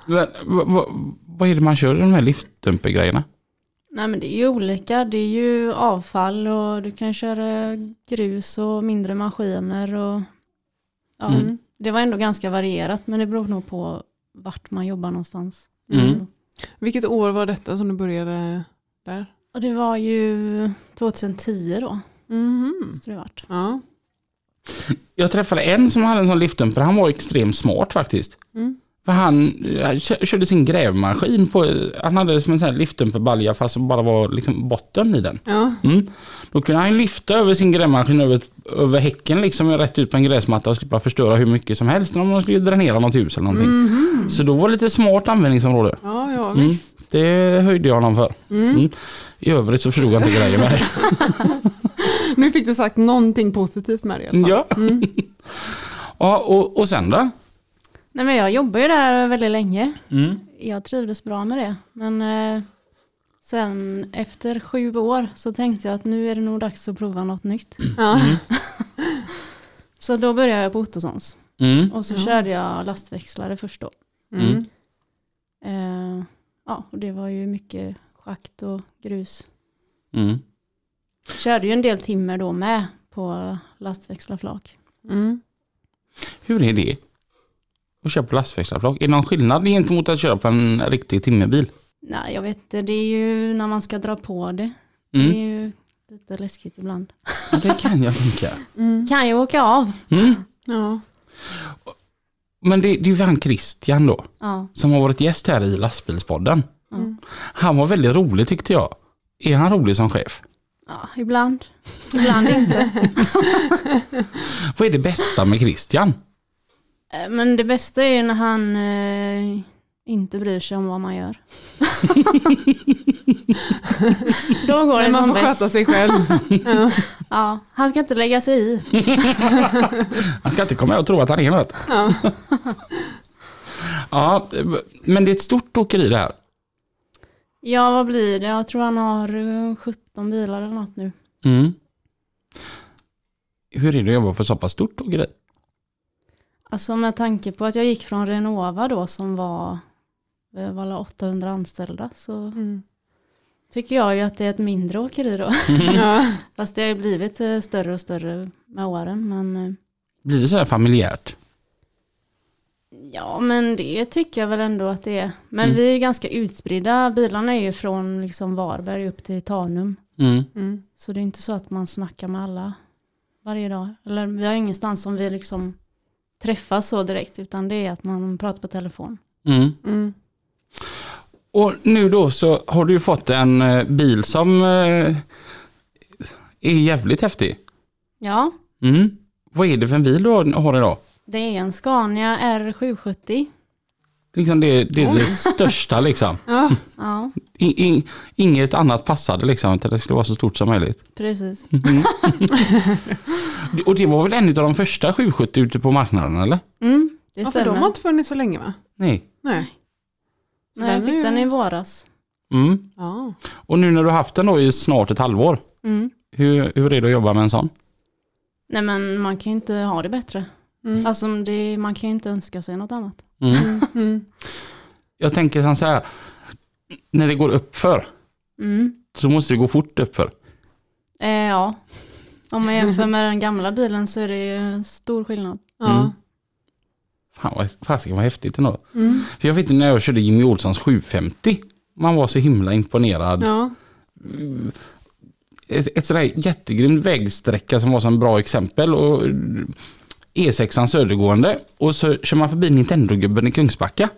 [SPEAKER 1] Men, vad, vad, vad är det man kör i de här liftdumpergrejerna?
[SPEAKER 6] Nej men det är ju olika. Det är ju avfall och du kan köra grus och mindre maskiner. Och, ja,
[SPEAKER 1] Mm.
[SPEAKER 6] Det var ändå ganska varierat men det beror nog på vart man jobbar någonstans. Alltså.
[SPEAKER 1] Mm.
[SPEAKER 6] Så.
[SPEAKER 2] Vilket år var detta som du började där?
[SPEAKER 6] Och det var ju 2010 då.
[SPEAKER 1] Mm.
[SPEAKER 2] Mhm.
[SPEAKER 6] Så det vart.
[SPEAKER 2] Ja.
[SPEAKER 1] Jag träffade en som hade en sån liftdumper. Han var extremt smart faktiskt.
[SPEAKER 2] Mm.
[SPEAKER 1] För han, eh, han kö- körde sin grävmaskin på, han hade som en sån här liftdumperbalja fast det bara var liksom botten i den.
[SPEAKER 2] ja.
[SPEAKER 1] Mm. Då kunde han ju lyfta över sin grävmaskin över, över häcken liksom rätt ut på en gräsmatta och slippa förstöra hur mycket som helst om de skulle dränera något hus eller någonting. Så då var det lite smart användningsområde.
[SPEAKER 2] Ja, ja
[SPEAKER 1] Mm.
[SPEAKER 2] visst.
[SPEAKER 1] Det höjde jag honom för. Mm. I övrigt så förstod jag inte grejer med det.
[SPEAKER 2] Nu fick du sagt någonting positivt med det i alla fall.
[SPEAKER 1] Ja. Mm. ja och, och sen då?
[SPEAKER 6] Nej men jag jobbade ju där väldigt länge. Jag trivdes bra med det. Men eh, sen efter sju år så tänkte jag att nu är det nog dags att prova något nytt.
[SPEAKER 1] Mm.
[SPEAKER 2] Ja.
[SPEAKER 6] Så då började jag på Ottossons.
[SPEAKER 1] Mm.
[SPEAKER 6] Och så
[SPEAKER 2] Ja.
[SPEAKER 6] körde jag lastväxlare först då.
[SPEAKER 2] Mm.
[SPEAKER 6] Eh, ja, och det var ju mycket schakt och grus.
[SPEAKER 1] Mm.
[SPEAKER 6] Körde ju en del timmer då med på lastväxlarflak.
[SPEAKER 2] Mm.
[SPEAKER 1] Hur är det? Att köra på lastväxlarflak? Är det någon skillnad gentemot att köra på en riktig timmerbil?
[SPEAKER 6] Nej, jag vet inte. Det är ju när man ska dra på det. Det
[SPEAKER 1] Mm.
[SPEAKER 6] är ju lite läskigt ibland.
[SPEAKER 1] Ja, det kan jag tänka.
[SPEAKER 2] Mm.
[SPEAKER 6] Kan ju åka av.
[SPEAKER 1] Mm.
[SPEAKER 2] Ja.
[SPEAKER 1] Men det, det är ju han Christian då.
[SPEAKER 6] Ja,
[SPEAKER 1] som har varit gäst här i lastbilspodden.
[SPEAKER 6] Mm.
[SPEAKER 1] Han var väldigt rolig tyckte jag. Är han rolig som chef?
[SPEAKER 6] ja ibland. Ibland inte.
[SPEAKER 1] Vad är det bästa med Christian?
[SPEAKER 6] Eh, Men det bästa är ju när han eh, inte bryr sig om vad man gör. då går
[SPEAKER 2] Nej,
[SPEAKER 6] det
[SPEAKER 2] man
[SPEAKER 6] som
[SPEAKER 2] får
[SPEAKER 6] bäst.
[SPEAKER 2] sköta sig själv.
[SPEAKER 6] Ja, han ska inte lägga sig i.
[SPEAKER 1] Han ska inte komma och tro att han är något.
[SPEAKER 2] Ja.
[SPEAKER 1] Ja, men det är ett stort åkeri det här.
[SPEAKER 6] Ja, vad blir det? Jag tror han har eh, 17 bilar eller något nu.
[SPEAKER 1] Mm. Hur är det att jobba på ett så pass stort åkeri?
[SPEAKER 6] Alltså med tanke på att jag gick från Renova då som var eh, var alla 800 anställda så
[SPEAKER 2] Mm.
[SPEAKER 6] tycker jag ju att det är ett mindre åkeri då.
[SPEAKER 2] Mm. Ja.
[SPEAKER 6] Fast det har ju blivit eh, större och större med åren. Men eh,
[SPEAKER 1] Blir det så här familjärt?
[SPEAKER 6] ja, men det tycker jag väl ändå att det är. Men vi är ju ganska utspridda. Bilarna är ju från liksom Varberg upp till Tanum.
[SPEAKER 1] Mm.
[SPEAKER 2] Mm.
[SPEAKER 6] Så det är inte så att man snackar med alla varje dag. Eller vi har ingenstans som vi liksom träffas så direkt, utan det är att man pratar på telefon.
[SPEAKER 1] Mm.
[SPEAKER 2] Mm.
[SPEAKER 1] Och nu då så har du ju fått en eh, bil som eh, är jävligt häftig.
[SPEAKER 6] Ja,
[SPEAKER 1] Mm. Vad är det för en bil du har har idag?
[SPEAKER 6] det är en Scania R770.
[SPEAKER 1] Liksom det, det är det största liksom.
[SPEAKER 2] Ja.
[SPEAKER 6] Ja,
[SPEAKER 1] I, i, inget annat passade liksom, utan det skulle vara så stort som möjligt.
[SPEAKER 6] precis.
[SPEAKER 1] Mm. Och det var väl en av de första 770 ute på marknaden eller?
[SPEAKER 6] Mm, det
[SPEAKER 2] ja, för
[SPEAKER 6] stämmer.
[SPEAKER 2] de har inte funnits så länge va?
[SPEAKER 1] Nej.
[SPEAKER 2] Nej. Så
[SPEAKER 6] Nej, jag
[SPEAKER 2] är ju-
[SPEAKER 6] fick den i våras.
[SPEAKER 1] Mm.
[SPEAKER 2] Ja.
[SPEAKER 1] Och nu när du har haft den då i snart ett halvår,
[SPEAKER 6] Mm.
[SPEAKER 1] hur, hur är det att jobba med en sån?
[SPEAKER 6] Nej, men man kan ju inte ha det bättre. Alltså, det, man kan ju inte önska sig något annat.
[SPEAKER 2] Mm.
[SPEAKER 1] Jag tänker som så här, när det går uppför
[SPEAKER 6] Mm.
[SPEAKER 1] så måste det gå fort uppför.
[SPEAKER 6] Eh, ja, om man jämför med den gamla bilen så är det ju stor skillnad.
[SPEAKER 2] Ja.
[SPEAKER 1] Fan vad, fasiken vad häftigt ändå.
[SPEAKER 2] Mm.
[SPEAKER 1] För jag vet ju när jag körde Jimmy Olssons 750, man var så himla imponerad.
[SPEAKER 2] Ja.
[SPEAKER 1] ett, ett sådär jättegrymt vägsträcka som var som bra exempel. Och E6an södergående och så kör man förbi Nintendo-gubben i Kungsbacka.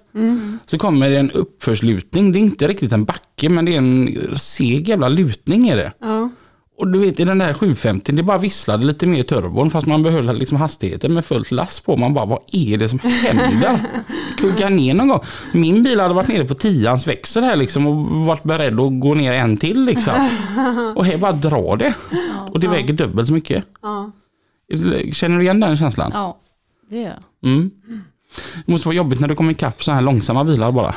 [SPEAKER 1] Så kommer det en uppförslutning, det är inte riktigt en backe men det är en seg jävla lutning är det.
[SPEAKER 2] Ja.
[SPEAKER 1] Och du vet i den där 750, det bara visslade lite mer i turbon fast man behöll liksom hastigheten med fullt lass på. Man bara, vad är det som händer? Kugga ner någon gång. Min bil hade varit nere på tians växel här liksom och varit beredd att gå ner en till liksom. Och här bara drar det. Och det väger dubbelt så mycket.
[SPEAKER 2] Ja.
[SPEAKER 1] Känner du igen den känslan?
[SPEAKER 6] Ja, det gör jag.
[SPEAKER 1] Mm. Det måste vara jobbigt när du kommer ikapp så här långsamma bilar bara.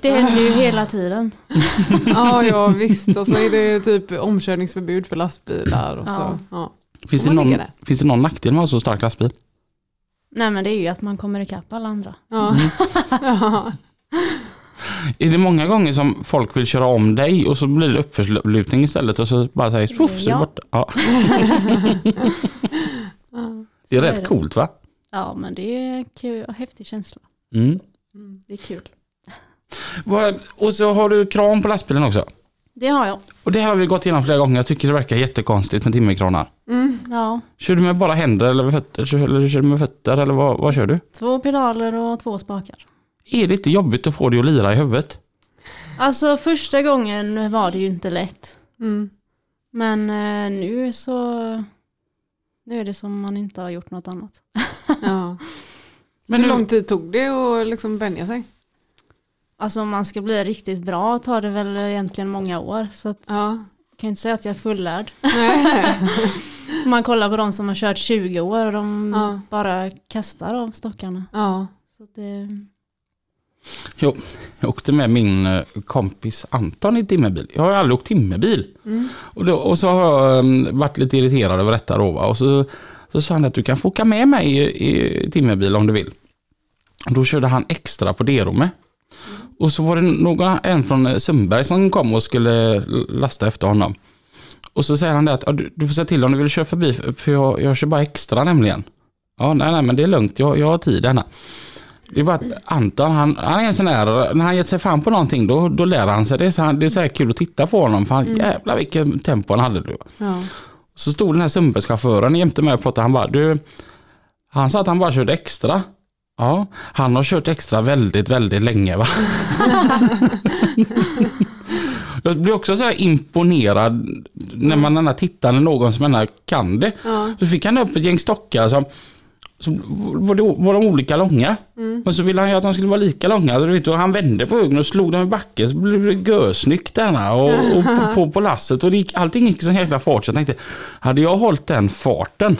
[SPEAKER 6] Det händer ju hela tiden.
[SPEAKER 2] ja, ja visst. Och så är det typ omkörningsförbud för lastbilar. Och så. Ja.
[SPEAKER 1] Finns,
[SPEAKER 2] Får
[SPEAKER 1] det
[SPEAKER 2] man
[SPEAKER 1] någon,
[SPEAKER 2] ligga där?
[SPEAKER 1] finns det någon nackdel med att ha så stark lastbil?
[SPEAKER 6] Nej men det är ju att man kommer ikapp alla andra.
[SPEAKER 2] Ja.
[SPEAKER 1] Mm.
[SPEAKER 2] ja.
[SPEAKER 1] Är det många gånger som folk vill köra om dig och så blir det uppförslutning istället och så bara säger poff så är det
[SPEAKER 6] Ja.
[SPEAKER 1] borta. Ja, det är
[SPEAKER 6] Så
[SPEAKER 1] rätt coolt va?
[SPEAKER 6] Ja men det är kul, och häftig känsla.
[SPEAKER 1] Mm.
[SPEAKER 6] Det är kul.
[SPEAKER 1] Vad- Och så har du kran på lastbilen också.
[SPEAKER 6] Det har jag.
[SPEAKER 1] Och det här har vi gått igenom flera gånger. Jag tycker det verkar jättekonstigt med timmerkranar.
[SPEAKER 6] Ja,
[SPEAKER 1] Kör du med bara händer eller med fötter? Eller kör du med fötter eller vad, vad kör du?
[SPEAKER 6] två pedaler och två spakar.
[SPEAKER 1] Är det inte jobbigt att få det att lira i huvudet?
[SPEAKER 6] Alltså första gången var det ju inte lätt.
[SPEAKER 2] Mm.
[SPEAKER 6] Men eh, nu så... Nu är det som man inte har gjort något annat.
[SPEAKER 2] ja.
[SPEAKER 1] Men
[SPEAKER 2] Hur
[SPEAKER 1] nu,
[SPEAKER 2] lång tid tog det att liksom vänja sig?
[SPEAKER 6] Alltså om man ska bli riktigt bra tar det väl egentligen många år. Så att,
[SPEAKER 2] Ja.
[SPEAKER 6] jag kan inte säga att jag är fullärd.
[SPEAKER 2] Nej.
[SPEAKER 6] Om man kollar på de som har kört 20 år och de
[SPEAKER 2] Ja.
[SPEAKER 6] bara kastar av stockarna.
[SPEAKER 2] ja.
[SPEAKER 6] Så att det,
[SPEAKER 1] jo, jag åkte med min eh, kompis Anton i timmerbil. Jag har ju aldrig åkt timmerbil.
[SPEAKER 2] Mm.
[SPEAKER 1] Och, då, och så har jag eh, varit lite irriterad över detta då. Va? Och så, så sa han att du kan få åka med mig i, i timmerbil om du vill. Och Då körde han extra på Derome. Och så var det någon, en från eh, Sundberg som kom och skulle l- lasta efter honom. Och så säger han det att "Ja, du, du får säga till om du vill köra förbi för för jag, jag kör bara extra nämligen. Ja, nej, nej, men det är lugnt. Jag, jag har tid denna. Det är bara att Anton, han, han är en sån där, när han gett sig fan på någonting då, då lär han sig det. Så han, det är så här kul att titta på honom. Fan, Jävlar vilken tempo han hade. Då.
[SPEAKER 2] Ja.
[SPEAKER 1] Så stod den här Sundbergschauffören jämte mig och pratade. Han bara, du, han sa att han bara körde extra. Ja, han har kört extra väldigt, väldigt länge va. Jag blir också så här imponerad när man mm. tittar när någon som ändå kan det.
[SPEAKER 2] Ja.
[SPEAKER 1] Så fick han upp ett gäng stockar som, som var, det, var de olika långa. Men så ville han ju att de skulle vara lika långa. Du vet, och han vände på ögonen och slog dem i backen så blev det görsnyggt denna och, och på, på, på lasset. Och det gick, allting gick i sån jäkla fart så jag tänkte, hade jag hållit den farten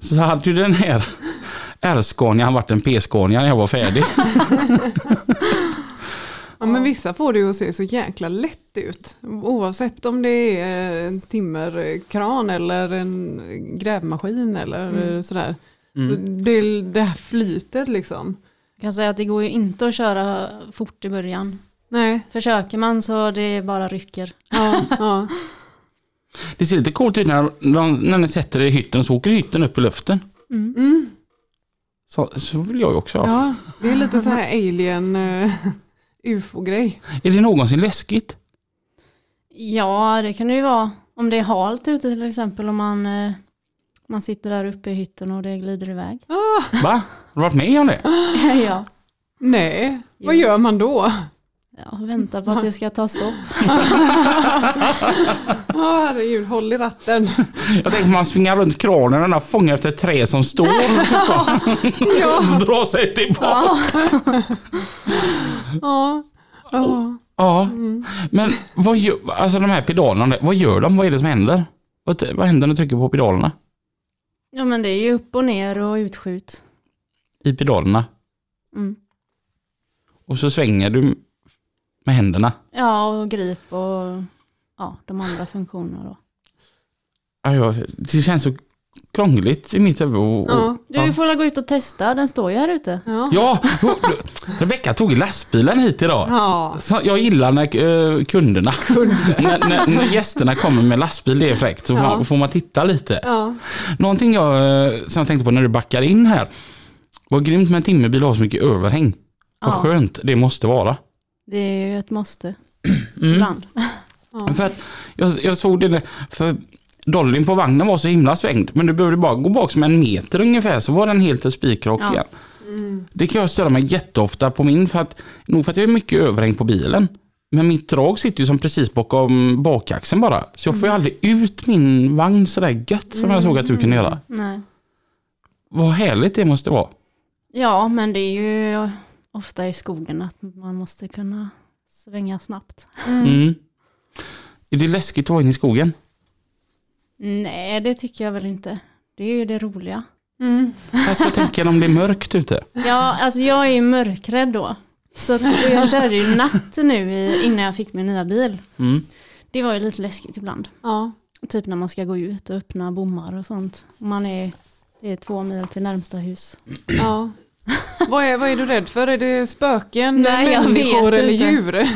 [SPEAKER 1] så hade ju den här R-Scanian varit en P-Scania när jag var färdig.
[SPEAKER 2] Ja, men vissa får det ju att se så jäkla lätt ut. Oavsett om det är en timmerkran eller en grävmaskin eller sådär. Så
[SPEAKER 1] Mm.
[SPEAKER 2] det, det här flytet liksom.
[SPEAKER 6] jag kan säga att det går ju inte att köra fort i början.
[SPEAKER 2] Nej,
[SPEAKER 6] Försöker man så det bara rycker.
[SPEAKER 2] ja, ja,
[SPEAKER 1] Det ser lite coolt ut när, de, när ni sätter det i hytten så åker hytten upp i luften.
[SPEAKER 2] mm,
[SPEAKER 1] Så, så vill jag ju också ha.
[SPEAKER 2] ja. Det är lite så här alien eh, ufo-grej.
[SPEAKER 1] Är det någonsin läskigt?
[SPEAKER 6] Ja, det kan det ju vara. Om det är halt ute till exempel, om man, eh, man sitter där uppe i hytten och det glider iväg.
[SPEAKER 1] Va? Har du varit med om det?
[SPEAKER 6] ja.
[SPEAKER 2] Nej, vad
[SPEAKER 6] Jo.
[SPEAKER 2] gör man då?
[SPEAKER 6] ja, vänta på att det ska ta stopp.
[SPEAKER 2] Ja, Herregud, håll i ratten.
[SPEAKER 1] Jag tänker man svingar runt kranen och den här fångar efter ett trä som står och fortfarande
[SPEAKER 2] Ja,
[SPEAKER 1] drar sig tillbaka.
[SPEAKER 6] Ja.
[SPEAKER 2] ja. ja. Mm.
[SPEAKER 1] Ja. Men vad gör, alltså de här pedalerna, vad gör de? Vad är det som händer? Vad, vad händer när du trycker på pedalerna?
[SPEAKER 6] ja, men det är ju upp och ner och utskjut.
[SPEAKER 1] I pedalerna?
[SPEAKER 6] Mm.
[SPEAKER 1] Och så svänger du med händerna?
[SPEAKER 6] Ja, och grip och ja, de andra funktionerna då.
[SPEAKER 1] Ja, ja, Det känns så krångligt i mitt huvud. Och, och,
[SPEAKER 2] Ja.
[SPEAKER 6] Du får väl gå ut och testa, den står ju här ute.
[SPEAKER 2] ja.
[SPEAKER 1] Ja, hon- Rebecka tog lastbilen hit idag.
[SPEAKER 2] ja.
[SPEAKER 1] Så jag gillar när eh, kunderna, när, när, när gästerna kommer med lastbil, det är fräckt. Så får man- får man titta lite.
[SPEAKER 2] ja.
[SPEAKER 1] Någonting jag, eh, som jag tänkte på när du backar in här. Vad grymt med en timmerbil att ha så mycket överhäng. Vad
[SPEAKER 6] Ja.
[SPEAKER 1] skönt det måste vara.
[SPEAKER 6] Det är ju ett måste.
[SPEAKER 2] Mm.
[SPEAKER 6] Ibland.
[SPEAKER 1] För att jag, jag såg det, där, för dollyn på vagnen var så himla svängd. Men du behövde bara gå bak som en meter ungefär så var den helt spikrak
[SPEAKER 6] Ja. Mm.
[SPEAKER 1] igen. Det kan jag störa mig jätteofta på min för att, nog för att jag är mycket överhäng på bilen. Men mitt drag sitter ju som precis bakom bakaxeln bara. Så jag får
[SPEAKER 6] Mm.
[SPEAKER 1] ju aldrig ut min vagn sådär gött som jag såg att du kunde göra.
[SPEAKER 6] Nej.
[SPEAKER 1] Vad härligt det måste vara.
[SPEAKER 6] Ja, men det är ju ofta i skogen att man måste kunna svänga snabbt.
[SPEAKER 1] Mm. Är det läskigt att vara inne i skogen?
[SPEAKER 6] Nej, det tycker jag väl inte. Det är ju det roliga.
[SPEAKER 2] Mm.
[SPEAKER 1] Alltså jag tänker om det är mörkt ute.
[SPEAKER 6] Ja, alltså jag är ju mörkrädd då. Så att, och jag körde ju natt nu i, innan jag fick min nya bil.
[SPEAKER 1] Mm.
[SPEAKER 6] Det var ju lite läskigt ibland.
[SPEAKER 2] ja.
[SPEAKER 6] Typ när man ska gå ut och öppna bommar och sånt. Om Man är, det är två mil till närmsta hus.
[SPEAKER 2] Ja. vad, är, vad är du rädd för? Är det spöken,
[SPEAKER 6] Nej, jag
[SPEAKER 2] människor
[SPEAKER 6] vet
[SPEAKER 2] eller
[SPEAKER 6] inte.
[SPEAKER 2] djur?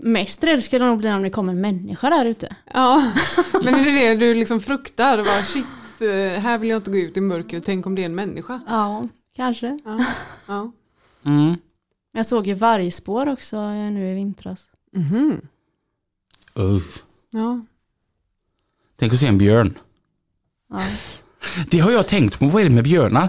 [SPEAKER 6] Mest rädd skulle jag nog bli om det kom en människa där ute.
[SPEAKER 2] Ja, men är det det du liksom fruktar? Bara, shit, eh, här vill jag inte gå ut i mörkret, tänk om det är en människa.
[SPEAKER 6] Ja, kanske.
[SPEAKER 2] Ja. Ja.
[SPEAKER 1] Mm.
[SPEAKER 6] Jag såg ju vargspår också eh, nu i vintras.
[SPEAKER 2] Mhm.
[SPEAKER 1] Uh.
[SPEAKER 2] Ja.
[SPEAKER 1] Tänk att se en björn.
[SPEAKER 6] Ja.
[SPEAKER 1] Det har jag tänkt på, vad är det med björnar?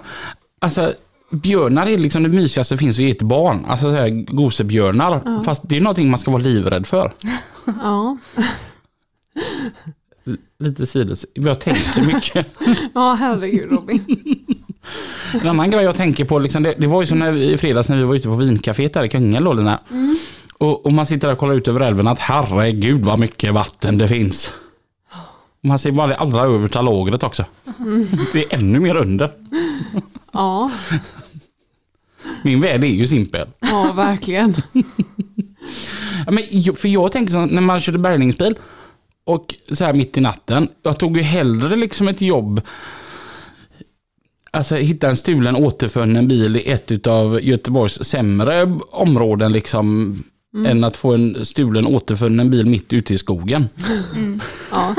[SPEAKER 1] Alltså, björnar är liksom det mysigaste som finns att ge till barn. Alltså så här, gosebjörnar. Fast det är någonting man ska vara livrädd för.
[SPEAKER 2] Ja.
[SPEAKER 1] L- lite sidos. Jag tänker mycket.
[SPEAKER 2] ja, herregud Robin.
[SPEAKER 1] En annan grej jag tänker på, liksom, det, det var ju som när vi, i fredags när vi var ute på vinkaféet där i Kungälv då, Lina. Och, och man sitter där och kollar ut över älven att herregud vad mycket vatten det finns. Och Man ser bara det allra översta lagret också. Det är ännu mer under.
[SPEAKER 2] Ja,
[SPEAKER 1] Min värld är ju simpel.
[SPEAKER 2] ja verkligen.
[SPEAKER 1] Ja, men, jag- för jag tänker så när man körde bärgningsbil och så här mitt i natten. Jag tog ju hellre liksom ett jobb. Alltså hitta en stulen återfunnen bil i ett av Göteborgs sämre områden liksom. Än att få en stulen återfunnen bil mitt ute i skogen.
[SPEAKER 2] Ja.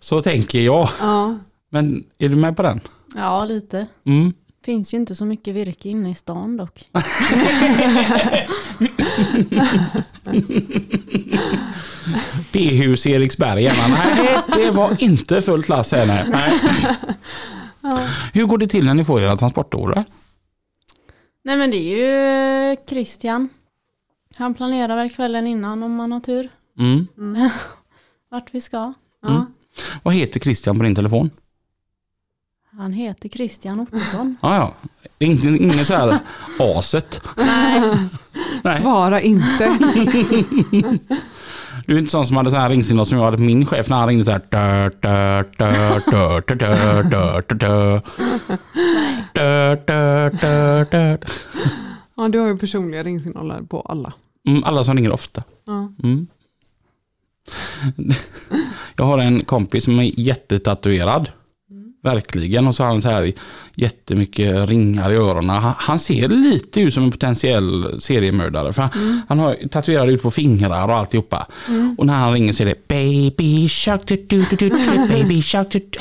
[SPEAKER 1] Så tänker jag.
[SPEAKER 2] Ja.
[SPEAKER 1] Men är du med på den?
[SPEAKER 6] ja, lite.
[SPEAKER 1] Mm.
[SPEAKER 6] Finns ju inte så mycket virke inne i stan dock.
[SPEAKER 1] B-hus Eriksberg. gärna. Nej, det var inte fullt lass här. Nej. Nej. Hur går det till när ni får era transportorder?
[SPEAKER 6] Nej men det är ju eh, Christian. Han planerar väl kvällen innan om man har tur.
[SPEAKER 1] Mm.
[SPEAKER 6] Vart vi ska.
[SPEAKER 2] Ja.
[SPEAKER 1] Vad heter Christian på din telefon?
[SPEAKER 6] Han heter Christian Ottosson.
[SPEAKER 1] Ah, ja, Det är inte ingen så här aset. Nej.
[SPEAKER 2] Svara inte.
[SPEAKER 1] Du är inte sån som hade sån här ringsignal som jag hade på min chef när han ringde så här. Dö, dö, dö, dö, dö, dö, dö, dö, dö. Dö, dö, dö, dö.
[SPEAKER 2] Ja, du har ju personliga ringsignaler på alla.
[SPEAKER 1] Mm, Alla som ringer ofta.
[SPEAKER 2] Ja.
[SPEAKER 1] Mm. Jag har en kompis som är jättetatuerad.
[SPEAKER 2] Mm.
[SPEAKER 1] Verkligen. Och så har han så här jättemycket ringar i öronen. Han, han ser lite ut som en potentiell seriemördare. För han,
[SPEAKER 2] Mm.
[SPEAKER 1] han har ju tatuerat ut på fingrar och alltihopa. Och när han ringer så är det baby shark, du, du, du, du, du, baby shark. Du, du.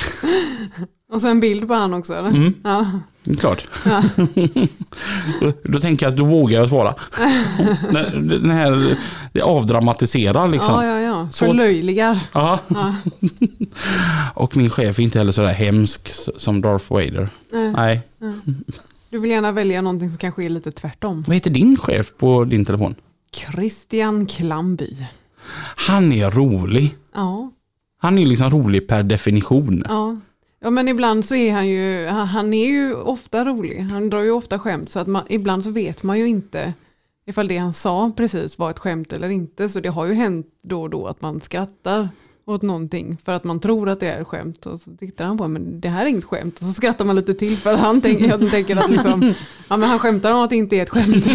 [SPEAKER 2] Och så en bild på han också eller?
[SPEAKER 1] Mm,
[SPEAKER 2] Ja.
[SPEAKER 1] Det är klart. då, då tänker jag att då vågar jag svara. den, den här, det avdramatiserar liksom.
[SPEAKER 2] ja, ja, ja.
[SPEAKER 1] Så-
[SPEAKER 2] Förlöjligar.
[SPEAKER 1] Ja. och min chef är inte heller sådär hemsk s- som Darth Vader.
[SPEAKER 2] Nej.
[SPEAKER 1] Nej.
[SPEAKER 2] Du vill gärna välja någonting som kanske är lite tvärtom.
[SPEAKER 1] Vad heter din chef på din telefon?
[SPEAKER 2] Christian Klamby.
[SPEAKER 1] Han är rolig.
[SPEAKER 2] Ja,
[SPEAKER 1] Han är liksom rolig per definition.
[SPEAKER 2] ja. Ja men ibland så är han ju, han, han är ju ofta rolig, han drar ju ofta skämt så att man, ibland så vet man ju inte ifall det han sa precis var ett skämt eller inte så det har ju hänt då och då att man skrattar åt någonting för att man tror att det är ett skämt och så tittar han på en, men det här är inget skämt och så skrattar man lite till för att han tänker, han tänker att liksom, ja men han skämtar om att det inte är ett skämt.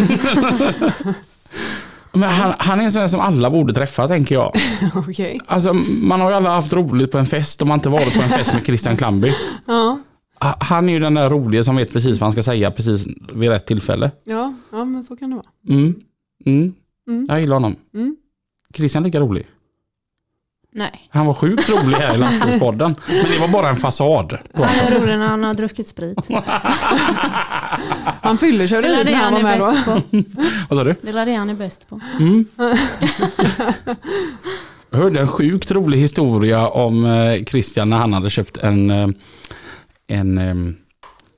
[SPEAKER 1] Men han, han är en sån där som alla borde träffa tänker jag.
[SPEAKER 2] Okej,
[SPEAKER 1] Alltså, man har ju alla haft roligt på en fest om man inte varit på en fest med Christian Klamby.
[SPEAKER 2] ja,
[SPEAKER 1] Ha- Han är ju den där roliga som vet precis vad han ska säga precis vid rätt tillfälle.
[SPEAKER 2] ja, ja men så kan det vara.
[SPEAKER 1] Mm. Mm.
[SPEAKER 2] Mm.
[SPEAKER 1] Jag gillar honom.
[SPEAKER 2] Mm.
[SPEAKER 1] Christian är lika rolig.
[SPEAKER 6] Nej.
[SPEAKER 1] Han var sjukt rolig här i lastbilspodden. Men det var bara en fasad. På
[SPEAKER 6] Han är rolig när han har druckit sprit.
[SPEAKER 2] Han
[SPEAKER 6] Det
[SPEAKER 2] fyllekörde
[SPEAKER 6] är
[SPEAKER 2] lite
[SPEAKER 6] det
[SPEAKER 2] när han
[SPEAKER 6] han
[SPEAKER 2] var
[SPEAKER 6] är
[SPEAKER 2] med då.
[SPEAKER 6] bäst på.
[SPEAKER 1] Vad sa du?
[SPEAKER 6] Det är det han är bäst på.
[SPEAKER 1] Mm. Jag hörde en sjukt rolig historia om eh, Christian när han hade köpt en, eh, en eh,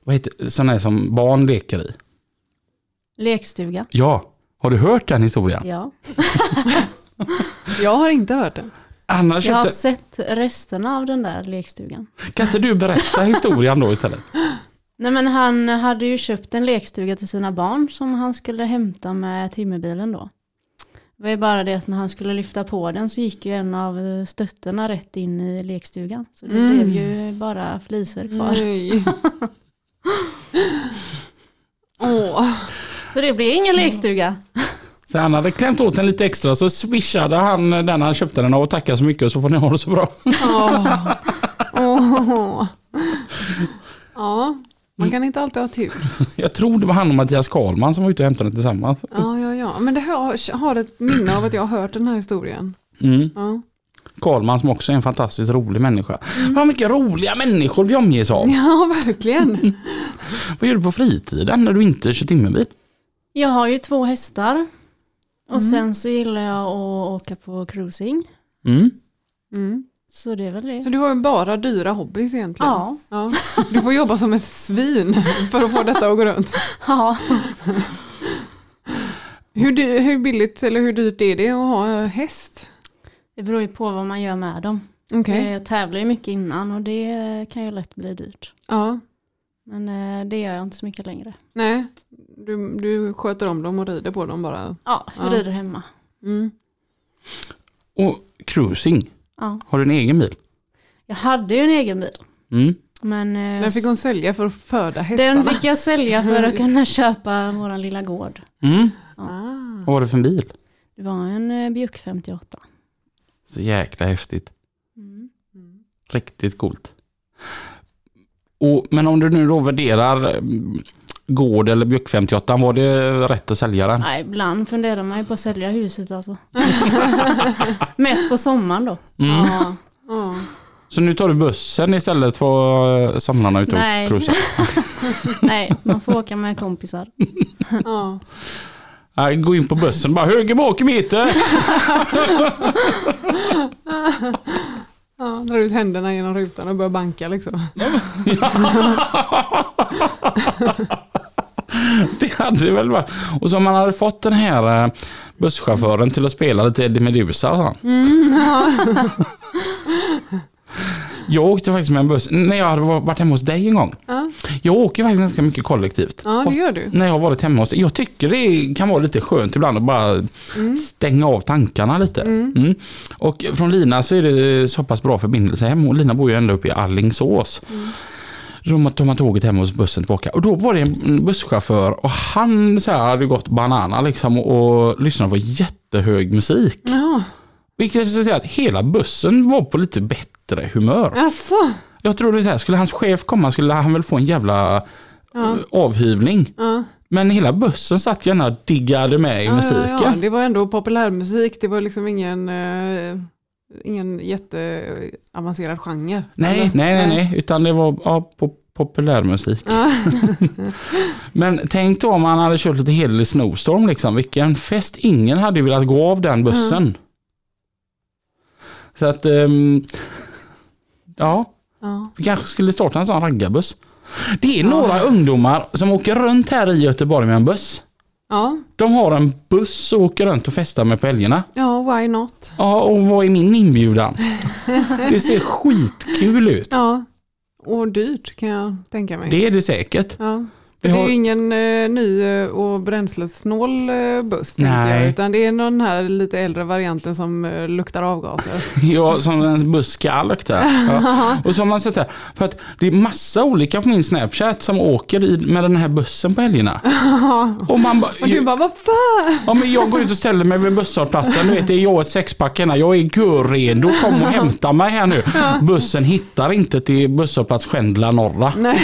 [SPEAKER 1] vad heter, sån här som barn leker i.
[SPEAKER 6] Lekstuga.
[SPEAKER 1] Ja, har du hört den historien?
[SPEAKER 6] Ja.
[SPEAKER 2] Jag har inte hört det.
[SPEAKER 1] Han hade
[SPEAKER 6] Jag har
[SPEAKER 1] köpt
[SPEAKER 6] sett resterna av den där lekstugan.
[SPEAKER 1] en, kan inte du berätta historien då istället?
[SPEAKER 6] Nej men han hade ju köpt en lekstuga till sina barn som han skulle hämta med timmerbilen då. Det var ju bara det att när han skulle lyfta på den så gick ju en av eh, stötterna rätt in i lekstugan. Så det
[SPEAKER 2] Mm.
[SPEAKER 6] blev ju bara flisor kvar.
[SPEAKER 2] Nej. Åh,
[SPEAKER 6] Så det blev ingen lekstuga.
[SPEAKER 1] Så han hade klämt åt den lite extra så swishade han den han köpte den av och tackade så mycket och så får ni ha det så bra.
[SPEAKER 2] Åh. Åh. Ja, man kan inte alltid ha tur.
[SPEAKER 1] Jag tror det var han och Mattias Karlman som var ute och hämtade den tillsammans.
[SPEAKER 2] Ja, ja, ja. Men det har, jag har ett minne av att jag har hört den här historien.
[SPEAKER 1] Mm.
[SPEAKER 2] Ja.
[SPEAKER 1] Karlman som också är en fantastiskt rolig människa. Vad mycket roliga människor vi omges av.
[SPEAKER 2] Ja, verkligen.
[SPEAKER 1] Vad gör du på fritiden när du inte kör timmerbil?
[SPEAKER 6] Jag har ju två hästar. Och
[SPEAKER 2] Mm.
[SPEAKER 6] sen så gillar jag att åka på cruising.
[SPEAKER 1] Mm.
[SPEAKER 2] Mm.
[SPEAKER 6] Så det är väl det.
[SPEAKER 2] Så du har ju bara dyra hobbys egentligen.
[SPEAKER 6] Ja.
[SPEAKER 2] Ja. Du får jobba som ett svin för att få detta att gå runt.
[SPEAKER 6] ja.
[SPEAKER 2] Hur, dy- hur billigt eller hur dyrt är det att ha eh, häst?
[SPEAKER 6] Det beror ju på vad man gör med dem.
[SPEAKER 2] Okej,
[SPEAKER 6] Jag tävlar ju mycket innan och det kan ju lätt bli dyrt.
[SPEAKER 2] ja.
[SPEAKER 6] Men eh, det gör jag inte så mycket längre.
[SPEAKER 2] Nej, du, du sköter om dem och rider på dem bara.
[SPEAKER 6] Ja, jag
[SPEAKER 2] Ja.
[SPEAKER 6] rider hemma.
[SPEAKER 2] Mm.
[SPEAKER 1] Och cruising,
[SPEAKER 6] Ja.
[SPEAKER 1] har du en egen bil?
[SPEAKER 6] Jag hade ju en egen bil.
[SPEAKER 1] Mm.
[SPEAKER 6] Men eh,
[SPEAKER 2] Den fick hon sälja för att föda hästarna.
[SPEAKER 6] den fick jag sälja för att kunna köpa våran lilla gård.
[SPEAKER 1] Mm.
[SPEAKER 2] Ah.
[SPEAKER 1] Vad var det för en bil?
[SPEAKER 6] Det var en eh, Bjuck 58.
[SPEAKER 1] Så jäkla häftigt.
[SPEAKER 6] Mm.
[SPEAKER 1] Riktigt coolt. Och, men om du nu då värderar mm, gård eller Bjuck 58, var det rätt att sälja den?
[SPEAKER 6] Nej, ibland funderar man ju på att sälja huset alltså. Mest på sommaren då.
[SPEAKER 1] Mm.
[SPEAKER 6] Ja.
[SPEAKER 2] Ja.
[SPEAKER 1] Så nu tar du bussen istället för eh, somrarna ute
[SPEAKER 6] Nej.
[SPEAKER 1] och cruisa?
[SPEAKER 6] Nej, man får åka med kompisar.
[SPEAKER 2] Ja.
[SPEAKER 1] Nej, Gå in på bussen och bara höger bak i mitten.
[SPEAKER 2] Ja, drar ut händerna genom rutan och börjar banka liksom.
[SPEAKER 1] Det hade det väl varit. Och så om man hade fått den här eh, busschauffören till att spela lite Eddie Meduza. sa han.
[SPEAKER 2] Mm,
[SPEAKER 1] Jag åkte faktiskt med en buss, när jag hade varit hemma hos dig en gång.
[SPEAKER 2] Ja.
[SPEAKER 1] Jag åker faktiskt ganska mycket kollektivt.
[SPEAKER 2] Ja, det
[SPEAKER 1] Ofta-
[SPEAKER 2] gör du.
[SPEAKER 1] När jag har varit hemma hos dig. Jag tycker det kan vara lite skönt ibland att bara stänga av tankarna lite. Mm. Och från Lina så är det så pass bra förbindelse hem. Och Lina bor ju ända uppe i Allingsås. Då tar man tåget hem och så bussen tillbaka. Och då var det en busschaufför och han så här hade gått banana liksom och, och lyssnade på jättehög musik.
[SPEAKER 2] Ja.
[SPEAKER 1] Vilket så att säga att hela bussen var på lite bättre humör.
[SPEAKER 2] Alltså.
[SPEAKER 1] Jag tror det är så här, skulle hans chef komma skulle han väl få en jävla
[SPEAKER 2] Ja.
[SPEAKER 1] eh, avhyvling.
[SPEAKER 2] Ja.
[SPEAKER 1] Men hela bussen satt gärna och diggade med i musiken.
[SPEAKER 2] Ja, ja, ja. Det var ändå populärmusik, det var liksom ingen, eh, ingen jätteavancerad genre.
[SPEAKER 1] Nej,
[SPEAKER 2] Eller?
[SPEAKER 1] nej, nej, nej, utan det var ja, po- populärmusik. Men tänk då om man hade kört lite helig snowstorm, liksom. vilken fest. Ingen hade ju velat gå av den bussen. Så att, ehm, ja.
[SPEAKER 2] Ja.
[SPEAKER 1] Vi kanske skulle starta en sån raggarbuss. Det är några ungdomar som åker runt här i Göteborg med en buss.
[SPEAKER 2] Ja.
[SPEAKER 1] De har en buss och åker runt och festar med på helgerna.
[SPEAKER 2] ja, why not?
[SPEAKER 1] Ja, och vad är min inbjudan? Det ser skitkul ut.
[SPEAKER 2] Ja. Och dyrt kan jag tänka mig.
[SPEAKER 1] Det är det säkert.
[SPEAKER 2] Ja.
[SPEAKER 1] Vi
[SPEAKER 2] Det är
[SPEAKER 1] har-
[SPEAKER 2] ju ingen eh, ny eh, och bränslesnål eh, buss, tänker
[SPEAKER 1] Nej.
[SPEAKER 2] jag, utan det är någon här lite äldre varianten som eh, luktar avgaser.
[SPEAKER 1] Ja, som en buss ska lukta. Ja. Och så har man sett här, för att det är massa olika på min Snapchat som åker i, med den här bussen på helgerna. Och man bara,
[SPEAKER 2] Och du bara, vad fan?
[SPEAKER 1] ja, men jag går ut och ställer mig vid busshållplatsen, du vet det är jag och ett sexpack här, jag är görredo, kom och hämta mig här nu. Bussen hittar inte till busshållplats Skändla norra.
[SPEAKER 2] Nej.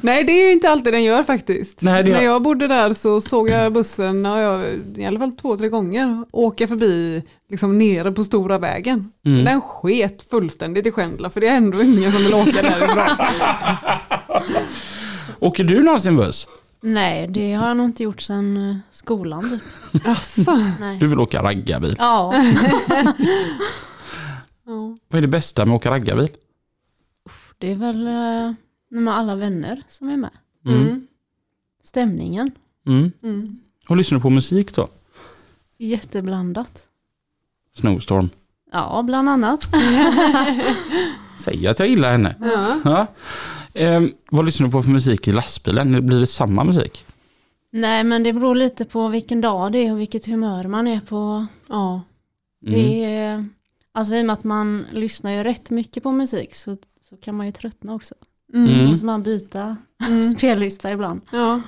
[SPEAKER 2] Nej, det är ju inte alltid den gör faktiskt.
[SPEAKER 1] Nej, det gör-
[SPEAKER 2] När jag bodde där så såg jag bussen, ja, jag, i alla fall två, tre gånger, åka förbi liksom nere på stora vägen.
[SPEAKER 1] Mm.
[SPEAKER 2] Den sket fullständigt i Skändla, för det är ändå ingen som vill åka därifrån.
[SPEAKER 1] Åker du någonsin buss?
[SPEAKER 6] Nej, det har jag nog inte gjort sedan eh, skolan typ.
[SPEAKER 2] Alltså.
[SPEAKER 6] Nej.
[SPEAKER 1] Du vill åka raggarbil.
[SPEAKER 6] Ja,
[SPEAKER 2] Ja.
[SPEAKER 1] Vad är det bästa med att åka raggarbil?
[SPEAKER 6] det är väl eh, när man har alla vänner som är med.
[SPEAKER 2] Mm.
[SPEAKER 6] Stämningen,
[SPEAKER 1] Mm.
[SPEAKER 2] Mm.
[SPEAKER 1] Och lyssnar du på musik då?
[SPEAKER 6] jätteblandat.
[SPEAKER 1] Snowstorm.
[SPEAKER 6] Ja, bland annat.
[SPEAKER 1] Säg att jag gillar henne.
[SPEAKER 2] Ja.
[SPEAKER 1] Ja. Ehm, vad lyssnar du på för musik i lastbilen? Blir det samma musik?
[SPEAKER 6] Nej, men det beror lite på vilken dag det är och vilket humör man är på.
[SPEAKER 2] Ja.
[SPEAKER 1] Mm.
[SPEAKER 6] Det är, alltså i och med att man lyssnar ju rätt mycket på musik så, så kan man ju tröttna också.
[SPEAKER 2] Mm.
[SPEAKER 6] Så
[SPEAKER 1] Mm.
[SPEAKER 6] måste man byta spellista ibland.
[SPEAKER 2] ja.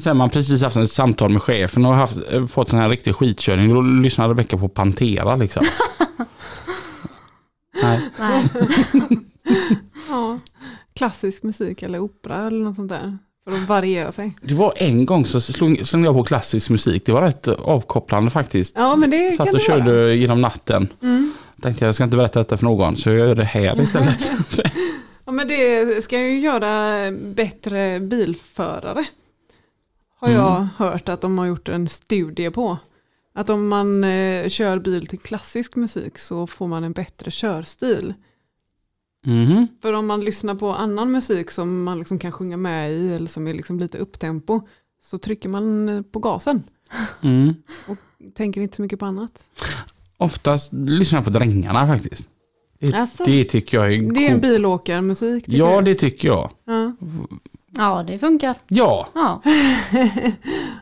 [SPEAKER 1] Sen man precis haft ett samtal med chefen och haft, eh, fått den här riktiga skitkörningen. Då lyssnar Rebecka på Pantera liksom. Nej.
[SPEAKER 6] Nej.
[SPEAKER 2] Ja, klassisk musik eller opera eller något sånt där. För att variera sig.
[SPEAKER 1] Det var en gång så slog, slog jag på klassisk musik. Det var rätt avkopplande faktiskt.
[SPEAKER 2] Ja, men det
[SPEAKER 1] Satt
[SPEAKER 2] kan
[SPEAKER 1] och
[SPEAKER 2] det
[SPEAKER 1] körde
[SPEAKER 2] vara.
[SPEAKER 1] genom natten.
[SPEAKER 2] Mm.
[SPEAKER 1] Tänkte jag ska inte berätta detta för någon, så jag gör det här istället.
[SPEAKER 2] Ja, men det ska ju göra bättre bilförare. Har
[SPEAKER 1] Mm.
[SPEAKER 2] jag hört att de har gjort en studie på. Att om man eh, kör bil till klassisk musik så får man en bättre körstil.
[SPEAKER 1] Mhm.
[SPEAKER 2] För om man lyssnar på annan musik som man liksom kan sjunga med i eller som är liksom lite upptempo så trycker man eh, på gasen.
[SPEAKER 1] Mm.
[SPEAKER 2] Tänker inte så mycket på annat.
[SPEAKER 1] Oftast lyssnar jag på Drängarna faktiskt.
[SPEAKER 2] Alltså, det,
[SPEAKER 1] Det tycker jag är
[SPEAKER 2] är en
[SPEAKER 1] coolt.
[SPEAKER 2] bilåkarmusik. tycker
[SPEAKER 1] Ja,
[SPEAKER 2] jag.
[SPEAKER 1] det tycker jag.
[SPEAKER 2] Ja.
[SPEAKER 6] Ja, det funkar.
[SPEAKER 1] Ja,
[SPEAKER 6] Ja.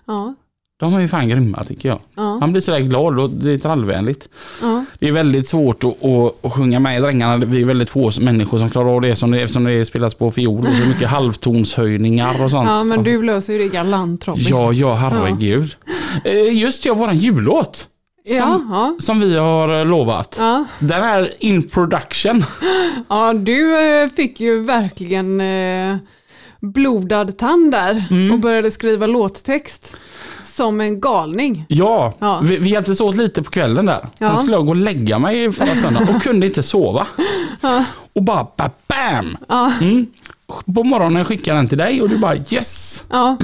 [SPEAKER 2] Ja.
[SPEAKER 1] de är ju fan grymma tycker jag.
[SPEAKER 2] Ja.
[SPEAKER 1] Man blir sådär glad och det är trallvänligt.
[SPEAKER 2] Ja.
[SPEAKER 1] Det är väldigt svårt att, att, att sjunga med i Drängarna. Vi är väldigt få människor som klarar av det som det eftersom det spelas på fiol och så mycket halvtonshöjningar och sånt.
[SPEAKER 2] ja, men du löser ju det galant Robin.
[SPEAKER 1] Ja, ja, herregud. Eh, Just ja, våran jullåt.
[SPEAKER 2] Ja, ja.
[SPEAKER 1] Som vi har eh, lovat.
[SPEAKER 2] Ja.
[SPEAKER 1] Den är in production.
[SPEAKER 2] ja, du eh, fick ju verkligen eh, blodad tand där och började skriva låttext som en galning.
[SPEAKER 1] Ja,
[SPEAKER 2] Ja.
[SPEAKER 1] Vi, vi hjälptes åt lite på kvällen där.
[SPEAKER 2] Ja.
[SPEAKER 1] Sen skulle jag gå och lägga mig förra söndagen och kunde inte sova. Och bara ba, bam! Mm. På morgonen skickade den till dig och du bara yes!
[SPEAKER 2] Ja,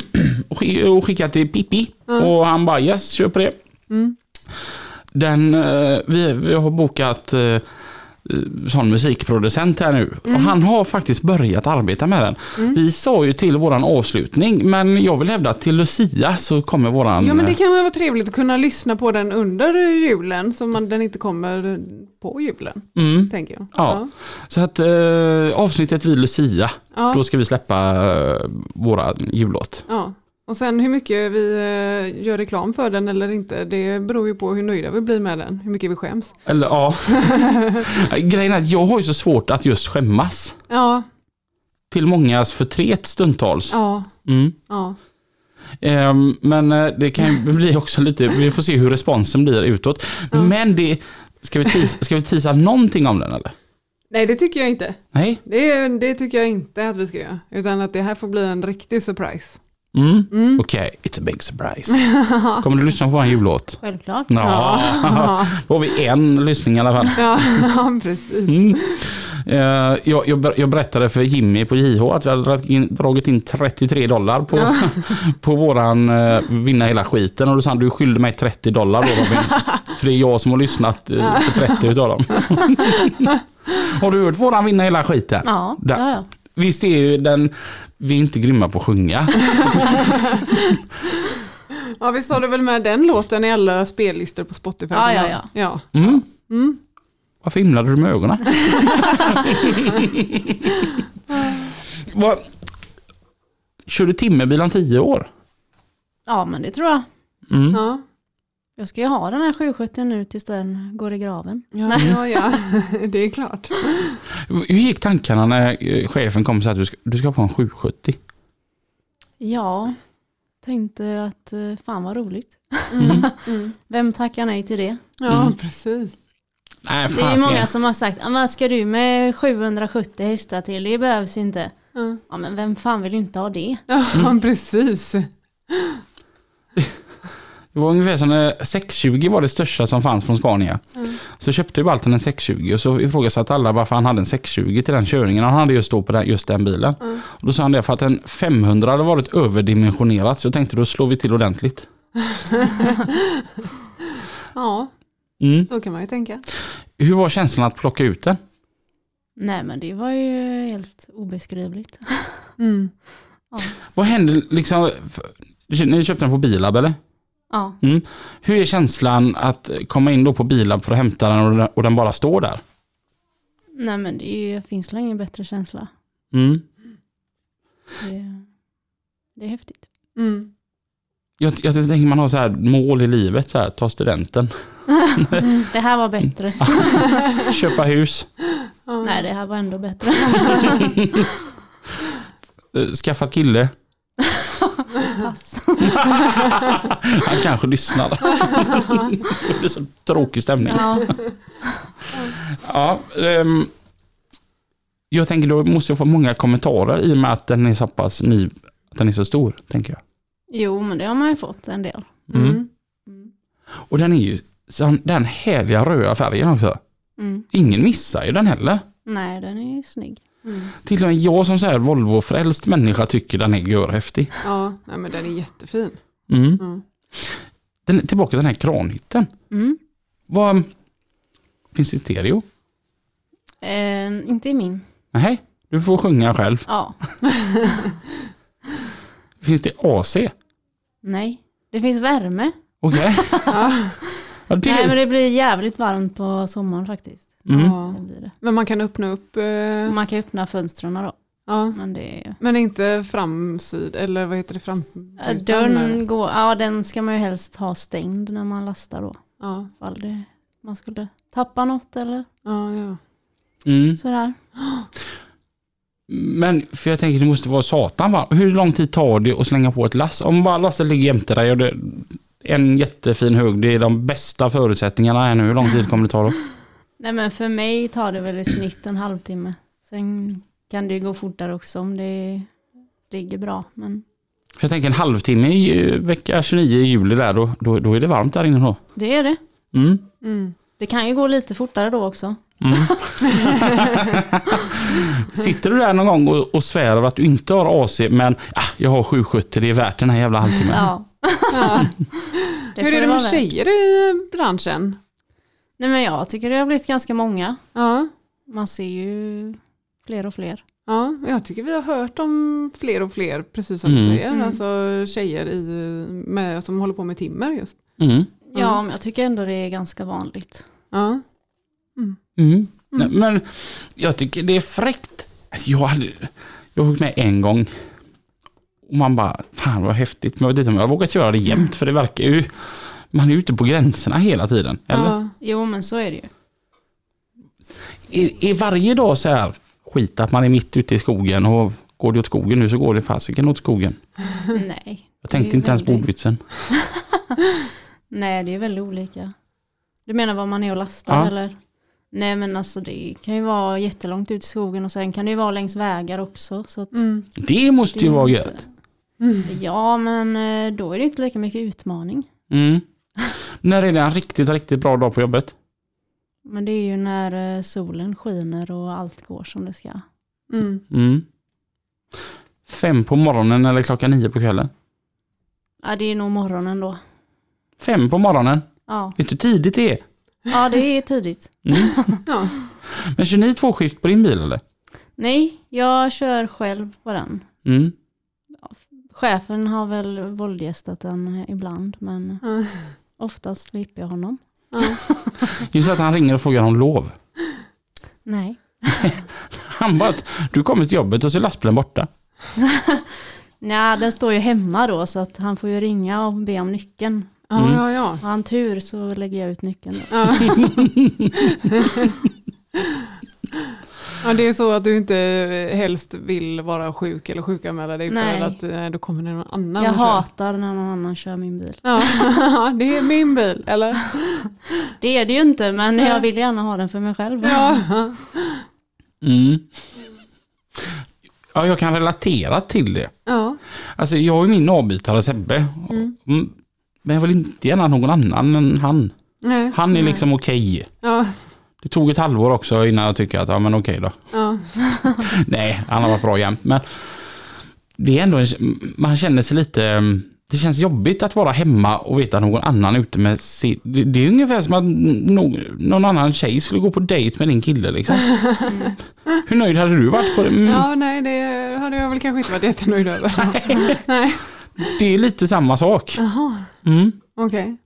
[SPEAKER 1] Och, sk- och skickade till Pippi och han bara yes, kör på det.
[SPEAKER 2] Mm.
[SPEAKER 1] Den, eh, vi, vi har bokat eh, eh, sån musikproducent här nu
[SPEAKER 2] Mm.
[SPEAKER 1] och han har faktiskt börjat arbeta med den. Vi sa ju till våran avslutning men jag vill hävda att till Lucia så kommer våran
[SPEAKER 2] ja men det
[SPEAKER 1] eh,
[SPEAKER 2] kan väl vara trevligt att kunna lyssna på den under julen så man, den inte kommer på julen,
[SPEAKER 1] mm,
[SPEAKER 2] tänker jag.
[SPEAKER 1] Ja. Så att eh, avsnittet vid Lucia,
[SPEAKER 2] Ja.
[SPEAKER 1] då ska vi släppa eh, våra jullåt.
[SPEAKER 2] Ja. Och sen hur mycket vi eh, gör reklam för den eller inte, det beror ju på hur nöjda vi blir med den, hur mycket vi skäms.
[SPEAKER 1] Eller ja, grejen är att jag har ju så svårt att just skämmas.
[SPEAKER 2] Ja,
[SPEAKER 1] Till mångas förtret stundtals.
[SPEAKER 2] ja,
[SPEAKER 1] Mm.
[SPEAKER 2] ja.
[SPEAKER 1] Ehm, men eh, det kan ju bli också lite, vi får se hur responsen blir utåt. Men det, ska vi, tisa, ska vi tisa någonting om den eller?
[SPEAKER 2] Nej, det tycker jag inte.
[SPEAKER 1] Nej?
[SPEAKER 2] Det, det tycker jag inte att vi ska göra, utan att det här får bli en riktig surprise.
[SPEAKER 1] Mm. Okej, it's a big surprise. Kommer du lyssna på vår jullåt?
[SPEAKER 6] Självklart.
[SPEAKER 1] Nå. då har vi en lyssning i alla fall.
[SPEAKER 2] Ja, ja precis.
[SPEAKER 1] Mm. Eh, jag, jag, ber- jag berättade för Jimmy på JH att vi hade dragit in, dragit in 33 dollar på, på våran eh, vinna hela skiten. Och då sa han, du skyllde mig 30 dollar då Robin. för det är jag som har lyssnat eh, på 30 utav dem. har du hört våran vinna hela skiten?
[SPEAKER 6] Ja,
[SPEAKER 1] Där.
[SPEAKER 6] ja, ja.
[SPEAKER 1] Visst är ju den, vi är inte grymma på att sjunga.
[SPEAKER 2] Ja, vi sa det väl med den låten i alla spellistor på Spotify?
[SPEAKER 6] Ja, ja,
[SPEAKER 2] ja. ja.
[SPEAKER 1] Mm. Varför himlade du med ögonen? Vad, kör du timmerbil om 10 år?
[SPEAKER 6] ja, men det tror jag.
[SPEAKER 1] Mm.
[SPEAKER 2] ja.
[SPEAKER 6] Jag ska ju ha den här 770 nu tills den går i graven.
[SPEAKER 2] Ja, ja, ja, det är klart.
[SPEAKER 1] Hur gick tankarna när eh, chefen kom och sa att du ska, du ska få en 770?
[SPEAKER 6] Ja, tänkte att eh, fan vad roligt.
[SPEAKER 1] Mm.
[SPEAKER 6] Vem tackar nej till det?
[SPEAKER 2] Ja,
[SPEAKER 1] Mm.
[SPEAKER 2] precis.
[SPEAKER 1] Nej,
[SPEAKER 6] Det är
[SPEAKER 1] fan,
[SPEAKER 6] ju
[SPEAKER 1] ska
[SPEAKER 6] många
[SPEAKER 1] jag-
[SPEAKER 6] som har sagt, "Ah, vad ska du med 770 hästar till? Det behövs inte.
[SPEAKER 2] Ja,
[SPEAKER 6] Ja, men vem fan vill inte ha det?
[SPEAKER 2] ja precis.
[SPEAKER 1] det var ungefär som när 620 var det största som fanns från Scania. Så köpte ju Balten en 620 och så ifrågasatte alla varför han hade en 620 till den körningen han hade just då på den, just den bilen. Och då sa han det för att en 500 hade varit överdimensionerat så jag tänkte då slår vi till ordentligt.
[SPEAKER 2] Ja,
[SPEAKER 1] Mm.
[SPEAKER 2] så kan man ju tänka.
[SPEAKER 1] Hur var känslan att plocka ut den?
[SPEAKER 6] Nej, men det var ju helt obeskrivligt.
[SPEAKER 2] Mm.
[SPEAKER 1] Vad hände liksom? för- Ni köpte den på Bilab eller?
[SPEAKER 6] Ja,
[SPEAKER 1] Hur är känslan att komma in då på Bilab för att hämta den och den- och den bara står där?
[SPEAKER 6] nej men det är ju, finns väl ingen bättre känsla.
[SPEAKER 1] Mm.
[SPEAKER 6] Det, det är häftigt.
[SPEAKER 2] Mm.
[SPEAKER 1] Jag, jag tänker man har så här mål i livet, så här, ta studenten,
[SPEAKER 6] Det här var bättre.
[SPEAKER 1] köpa hus,
[SPEAKER 6] Nej, det här var ändå bättre.
[SPEAKER 1] eh, skaffa kille.
[SPEAKER 6] pass.
[SPEAKER 1] Han kanske lyssnar. det blir så tråkig stämning.
[SPEAKER 6] ja.
[SPEAKER 1] Ja, ehm, jag tänker då måste jag få många kommentarer i och med att den är så pass ny. Att den är så stor, tänker jag.
[SPEAKER 6] Jo, men det har man ju fått en del.
[SPEAKER 1] Mm.
[SPEAKER 2] Mm.
[SPEAKER 6] Mm.
[SPEAKER 1] Och den är ju så- den härliga röda färgen också.
[SPEAKER 6] Mm.
[SPEAKER 1] Ingen missar ju den heller.
[SPEAKER 6] Nej, den är ju snygg.
[SPEAKER 2] Mm.
[SPEAKER 1] Till och med jag som så här Volvo-frälst människa tycker den är görhäftig.
[SPEAKER 2] Ja, nej, men den är jättefin.
[SPEAKER 1] Mm.
[SPEAKER 2] Ja.
[SPEAKER 1] Den, tillbaka till den här kranhytten.
[SPEAKER 6] Mm.
[SPEAKER 1] Vad Finns det stereo?
[SPEAKER 6] Eh, inte i min.
[SPEAKER 1] Nej, du får sjunga själv.
[SPEAKER 6] Ja,
[SPEAKER 1] Finns det AC? Okej.
[SPEAKER 6] nej. Det finns värme.
[SPEAKER 1] ja, det...
[SPEAKER 6] Nej, men det blir jävligt varmt på sommaren faktiskt.
[SPEAKER 1] mm.
[SPEAKER 2] Ja.
[SPEAKER 6] Det blir det.
[SPEAKER 2] Men man kan öppna upp, eh,
[SPEAKER 6] Och man kan öppna fönstren då.
[SPEAKER 2] ja.
[SPEAKER 6] Men det är...
[SPEAKER 2] men inte framsid, eller vad heter det? Fram,
[SPEAKER 6] Eh, Dörren går, ja den ska man ju helst ha stängd när man lastar då.
[SPEAKER 2] Ja,
[SPEAKER 6] Ifall det, man skulle tappa något eller
[SPEAKER 2] ja, ja.
[SPEAKER 1] Mm.
[SPEAKER 6] sådär.
[SPEAKER 1] Men för jag tänker det måste vara satan va? Hur lång tid tar det att slänga på ett lass? Om bara lasset ligger jämte dig och det en jättefin hugg, det är de bästa förutsättningarna här nu. Hur lång tid kommer det ta då?
[SPEAKER 6] Nej men för mig tar det väl i snitt en halvtimme. Sen kan det ju gå fortare också om det ligger bra. Men
[SPEAKER 1] För jag tänker en halvtimme i eh, vecka 29 i juli där, då, då, då är det varmt där inne då.
[SPEAKER 6] det är det.
[SPEAKER 1] Mm.
[SPEAKER 2] Mm.
[SPEAKER 6] Det kan ju gå lite fortare då också.
[SPEAKER 1] Mm. Sitter du där någon gång och, och svär över att du inte har AC men ah, jag har 770, det är värt den här jävla halvtimmen.
[SPEAKER 6] Ja.
[SPEAKER 2] Ja.
[SPEAKER 6] Det
[SPEAKER 2] Hur
[SPEAKER 6] får
[SPEAKER 2] är det
[SPEAKER 6] vara
[SPEAKER 2] med
[SPEAKER 6] värt.
[SPEAKER 2] tjejer i branschen?
[SPEAKER 6] Nej men jag tycker det har blivit ganska många.
[SPEAKER 2] Ja,
[SPEAKER 6] Man ser ju fler och fler.
[SPEAKER 2] ja, jag tycker vi har hört om fler och fler, precis som
[SPEAKER 1] Mm.
[SPEAKER 2] du säger,
[SPEAKER 6] Mm.
[SPEAKER 2] alltså tjejer i, med, som håller på med timmer just.
[SPEAKER 1] Mm.
[SPEAKER 6] Ja men jag tycker ändå det är ganska vanligt.
[SPEAKER 2] Ja,
[SPEAKER 1] Mm. Nej, men jag tycker det är fräckt. Jag hade, jag högg med en gång. Och man bara, fan vad häftigt. Men jag vet inte om jag vågat göra det jämt för det verkar ju, man är ute på gränserna hela tiden. Eller?
[SPEAKER 2] ja.
[SPEAKER 6] Jo men så är det ju.
[SPEAKER 1] Är, är varje dag så här skit att man är mitt ute i skogen och går det åt skogen nu så går det fasiken åt skogen.
[SPEAKER 6] Nej.
[SPEAKER 1] Jag
[SPEAKER 6] det är
[SPEAKER 1] tänkte
[SPEAKER 6] ju
[SPEAKER 1] inte ens på
[SPEAKER 6] väldigt-
[SPEAKER 1] ordvitsen.
[SPEAKER 6] Nej, det är väldigt olika. Du menar vad man är och lastar
[SPEAKER 1] Ja.
[SPEAKER 6] eller? Nej men alltså det kan ju vara jättelångt ut i skogen och sen kan det ju vara längs vägar också. Så att
[SPEAKER 2] Mm.
[SPEAKER 1] Det måste ju
[SPEAKER 6] Det är
[SPEAKER 1] vara
[SPEAKER 6] inte-
[SPEAKER 1] gött.
[SPEAKER 6] Ja men eh, då är det inte lika mycket utmaning.
[SPEAKER 1] Mm. När är det en riktigt, riktigt bra dag på jobbet?
[SPEAKER 6] Men det är ju när eh, solen skiner och allt går som det ska.
[SPEAKER 2] Mm.
[SPEAKER 1] Mm. Fem på morgonen eller klockan nio på kvällen?
[SPEAKER 6] Ja det är nog morgonen då.
[SPEAKER 1] Fem på morgonen.
[SPEAKER 6] Ja,
[SPEAKER 1] Vet du hur tidigt det är?
[SPEAKER 6] ja det är tidigt.
[SPEAKER 2] Ja.
[SPEAKER 1] Men kör ni tvåskift på din bil eller?
[SPEAKER 6] Nej, jag kör själv på den.
[SPEAKER 1] Mm.
[SPEAKER 6] Chefen har väl våldgästat den ibland men
[SPEAKER 2] Ja.
[SPEAKER 6] oftast slipper jag honom.
[SPEAKER 2] Ja.
[SPEAKER 1] Det är så att han ringer och frågar om lov.
[SPEAKER 6] Nej.
[SPEAKER 1] Han bara, att du kommer till jobbet och så är lastbilen borta.
[SPEAKER 6] Nej, den står ju hemma då så att han får ju ringa och be om nyckeln.
[SPEAKER 1] Mm.
[SPEAKER 2] Ja, ja, ja.
[SPEAKER 6] Har han tur så lägger jag ut nyckeln då.
[SPEAKER 2] Ja, det är så att du inte helst vill vara sjuk eller sjukanmäla dig
[SPEAKER 6] Nej.
[SPEAKER 2] för att eh, då kommer det någon annan.
[SPEAKER 6] Jag
[SPEAKER 2] och kör.
[SPEAKER 6] hatar när någon annan kör min bil.
[SPEAKER 2] Ja, det är min bil, eller?
[SPEAKER 6] Det är det ju inte men jag vill gärna ha den för mig själv.
[SPEAKER 2] Ja,
[SPEAKER 1] Mm. Ja, jag kan relatera till det.
[SPEAKER 2] ja.
[SPEAKER 1] Alltså jag har ju min avbytare Sebbe. Mm. Men jag vill inte gärna ha någon annan än han.
[SPEAKER 2] Nej.
[SPEAKER 1] Han är liksom okej.
[SPEAKER 2] ja.
[SPEAKER 1] Det tog ett halvår också innan jag tycker att, ja men okej då.
[SPEAKER 2] ja.
[SPEAKER 1] Nej, han har varit bra jämt. Men det är ändå, en, man känner sig lite, mm, det känns jobbigt att vara hemma och veta att någon annan är ute med sin, det, det är ungefär som att någon, någon annan tjej skulle gå på dejt med din kille liksom. Hur nöjd hade du varit på det? Mm,
[SPEAKER 2] ja nej, det hade jag väl kanske inte varit jättenöjd över.
[SPEAKER 1] Det är lite samma sak.
[SPEAKER 2] Jaha,
[SPEAKER 1] Mm.
[SPEAKER 2] okej.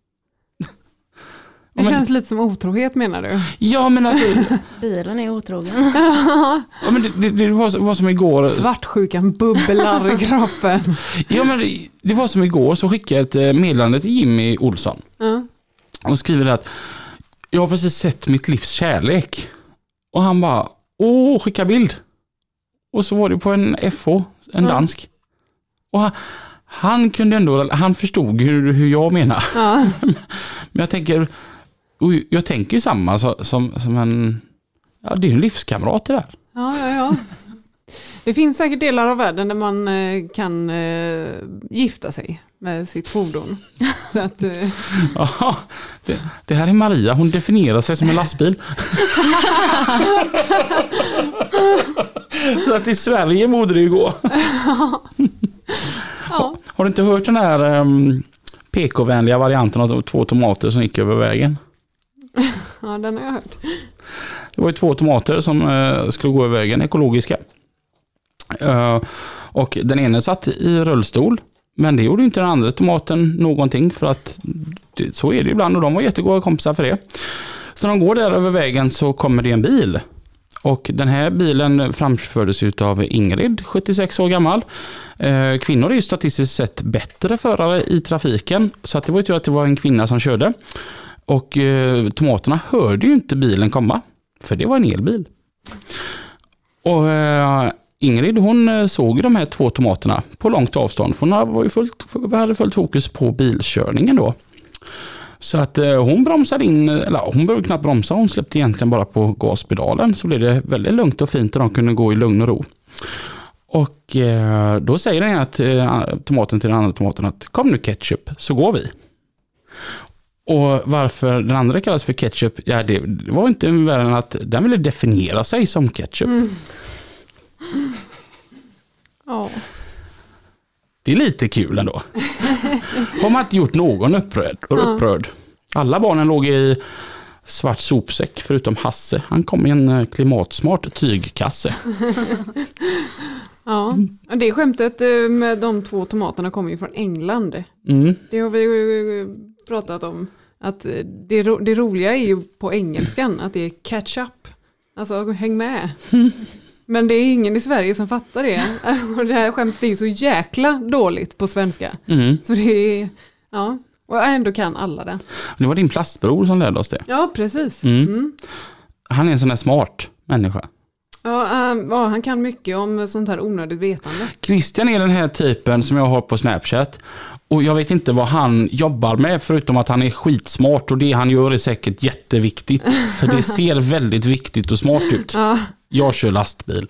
[SPEAKER 2] Det
[SPEAKER 1] Ja, men-
[SPEAKER 2] känns lite som otrohet menar du?
[SPEAKER 1] Ja men alltså,
[SPEAKER 6] Bilen är otrogen.
[SPEAKER 1] ja, men det, det, det var, så- var som igår.
[SPEAKER 2] Svartsjukan bubblar i kroppen.
[SPEAKER 1] Ja, men det, det var som igår så skickade jag ett eh, meddelande till Jimmy Olsson.
[SPEAKER 2] Ja.
[SPEAKER 1] och skriver att jag har precis sett mitt livs kärlek. Och han bara, åh, skicka bild. Och så var det på en FH, en dansk. Och han, Han kunde ändå, han förstod hur, hur jag menar.
[SPEAKER 2] Ja.
[SPEAKER 1] Men jag tänker, och jag tänker ju samma så- som, som en, ja det är ju en livskamrat det där.
[SPEAKER 2] Ja, ja, ja. Det finns säkert delar av världen där man eh, kan eh, gifta sig med sitt fordon. Så att, eh,
[SPEAKER 1] Jaha, det, det här är Maria, hon definierar sig som en lastbil. så att i Sverige borde det ju gå.
[SPEAKER 2] ja.
[SPEAKER 1] Har du inte hört den här ehm, PK-vänliga varianten av två tomater som gick över vägen?
[SPEAKER 2] ja, den har jag hört.
[SPEAKER 1] Det var ju två tomater som eh, skulle gå över vägen, ekologiska. Eh, och den ena satt i rullstol, men det gjorde ju inte den andra tomaten någonting för att det, så är det ju ibland och de var jättegoda kompisar för det. Så när de går där över vägen så kommer det en bil. Och den här bilen framfördes av Ingrid, 76 år gammal. Eh, Kvinnor är ju statistiskt sett bättre förare i trafiken, så att det var ju tur att det var en kvinna som körde. Och eh, tomaterna hörde ju inte bilen komma. För det var en elbil. Och eh, Ingrid hon eh, såg ju de här två tomaterna på långt avstånd. För hon var ju fullt, hade fullt fokus på bilkörningen då. Så att eh, hon bromsade in, eller ja, hon behövde knappt bromsa, hon släppte egentligen bara på gaspedalen. Så blev det väldigt lugnt och fint och de kunde gå i lugn och ro. Och eh, då säger den att eh, tomaten till den andra tomaten att kom nu ketchup så går vi. Och varför den andra kallas för ketchup, ja det det var inte värre än att den ville definiera sig som ketchup.
[SPEAKER 2] Ja.
[SPEAKER 1] Det är lite kul ändå. Har man inte gjort någon upprörd? upprörd? Alla barnen låg i svart sopsäck förutom Hasse. Han kom i en eh, klimatsmart tygkasse.
[SPEAKER 2] Ja. Och Det skämtet eh, med de två tomaterna kommer ju från England.
[SPEAKER 1] Mm.
[SPEAKER 2] Det har vi ju eh, pratat om. Att eh, det, ro- det roliga är ju på engelskan att det är catch up. Alltså häng med. Men det är ingen i Sverige som fattar det. Och det här skämtet är ju så jäkla dåligt på svenska.
[SPEAKER 1] Mm.
[SPEAKER 2] Så det är, ja. Och ändå kan alla det.
[SPEAKER 1] Det var din plastbror som lärde oss det.
[SPEAKER 2] Ja, precis.
[SPEAKER 1] Mm.
[SPEAKER 2] Mm.
[SPEAKER 1] Han är en sån där smart människa.
[SPEAKER 2] Ja, ehm, ja, han kan mycket om sånt här onödigt vetande.
[SPEAKER 1] Christian är den här typen som jag har på Snapchat. Och jag vet inte vad han jobbar med förutom att han är skitsmart och det han gör är säkert jätteviktigt. För det ser väldigt viktigt och smart ut.
[SPEAKER 2] Ja.
[SPEAKER 1] Jag kör lastbil.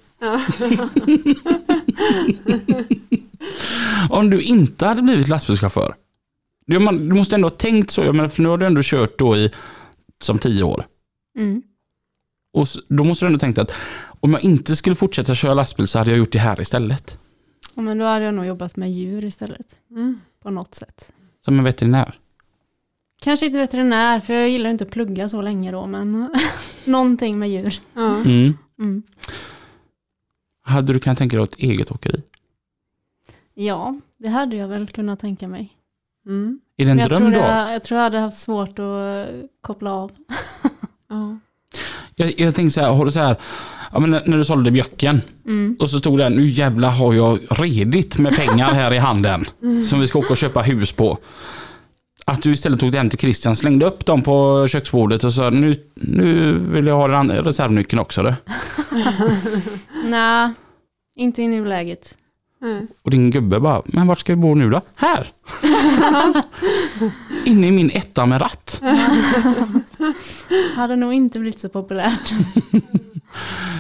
[SPEAKER 1] Om du inte hade blivit lastbilschaufför. Du, man, du måste ändå ha tänkt så, jag menar, för nu har du ändå kört då i som tio år.
[SPEAKER 6] Mm.
[SPEAKER 1] Och s- då måste du ändå tänkt att om jag inte skulle fortsätta köra lastbil så hade jag gjort det här istället.
[SPEAKER 6] Ja, men då hade jag nog jobbat med djur istället.
[SPEAKER 2] Mm.
[SPEAKER 6] På något sätt.
[SPEAKER 1] Som en veterinär.
[SPEAKER 6] Kanske inte veterinär, för jag gillar inte att plugga så länge då, men någonting med djur.
[SPEAKER 2] Ja.
[SPEAKER 1] Mm.
[SPEAKER 6] Mm.
[SPEAKER 1] Hade du kunnat tänka dig ett eget åkeri?
[SPEAKER 6] Ja, det hade jag väl kunnat tänka mig.
[SPEAKER 2] Mm.
[SPEAKER 1] Är det en
[SPEAKER 6] men jag,
[SPEAKER 1] dröm
[SPEAKER 6] tror
[SPEAKER 1] då?
[SPEAKER 6] jag, jag tror jag hade haft svårt att eh, koppla av.
[SPEAKER 2] Ja.
[SPEAKER 1] Jag, jag tänker så här, har du så här, ja, men när när du sålde mjölken
[SPEAKER 6] Mm.
[SPEAKER 1] och så stod där, nu jävla har jag redigt med pengar här i handen som vi ska åka och köpa hus på. Att du istället tog det hem till Christian, slängde upp dem på köksbordet och sa nu, nu vill jag ha den andra reservnyckeln också. Du.
[SPEAKER 6] Nej, inte i nuläget.
[SPEAKER 2] Nej.
[SPEAKER 1] Och din gubbe bara, men vart ska vi bo nu då? Här! Inne i min etta med ratt.
[SPEAKER 6] Hade nog inte blivit så populärt.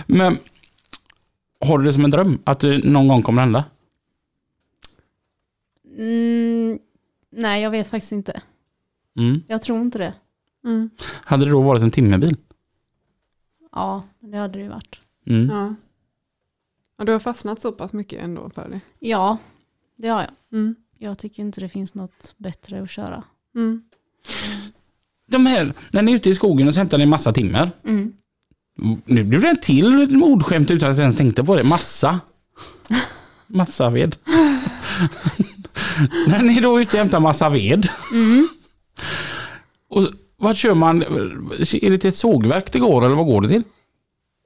[SPEAKER 1] Men har du det som en dröm att det någon gång kommer att hända?
[SPEAKER 6] Mm. Nej, jag vet faktiskt inte.
[SPEAKER 1] Mm.
[SPEAKER 6] Jag tror inte det.
[SPEAKER 2] Mm.
[SPEAKER 1] Hade det då varit en timmerbil?
[SPEAKER 6] Ja, det hade det ju varit.
[SPEAKER 1] Mm.
[SPEAKER 2] Ja. Ja, du har fastnat så pass mycket ändå för det.
[SPEAKER 6] Ja, det har jag.
[SPEAKER 2] Mm.
[SPEAKER 6] Jag tycker inte det finns något bättre att köra.
[SPEAKER 2] Mm.
[SPEAKER 1] De här, när ni är ute i skogen och så hämtar ni massa timmer.
[SPEAKER 6] Mm.
[SPEAKER 1] Nu blev det en till ordskämt utan att jag ens tänkte på det. Massa. Massa ved. när ni då är ute och hämtar massa ved.
[SPEAKER 6] Mm.
[SPEAKER 1] Och vad kör man? Är det till ett sågverk det går eller vad går det till?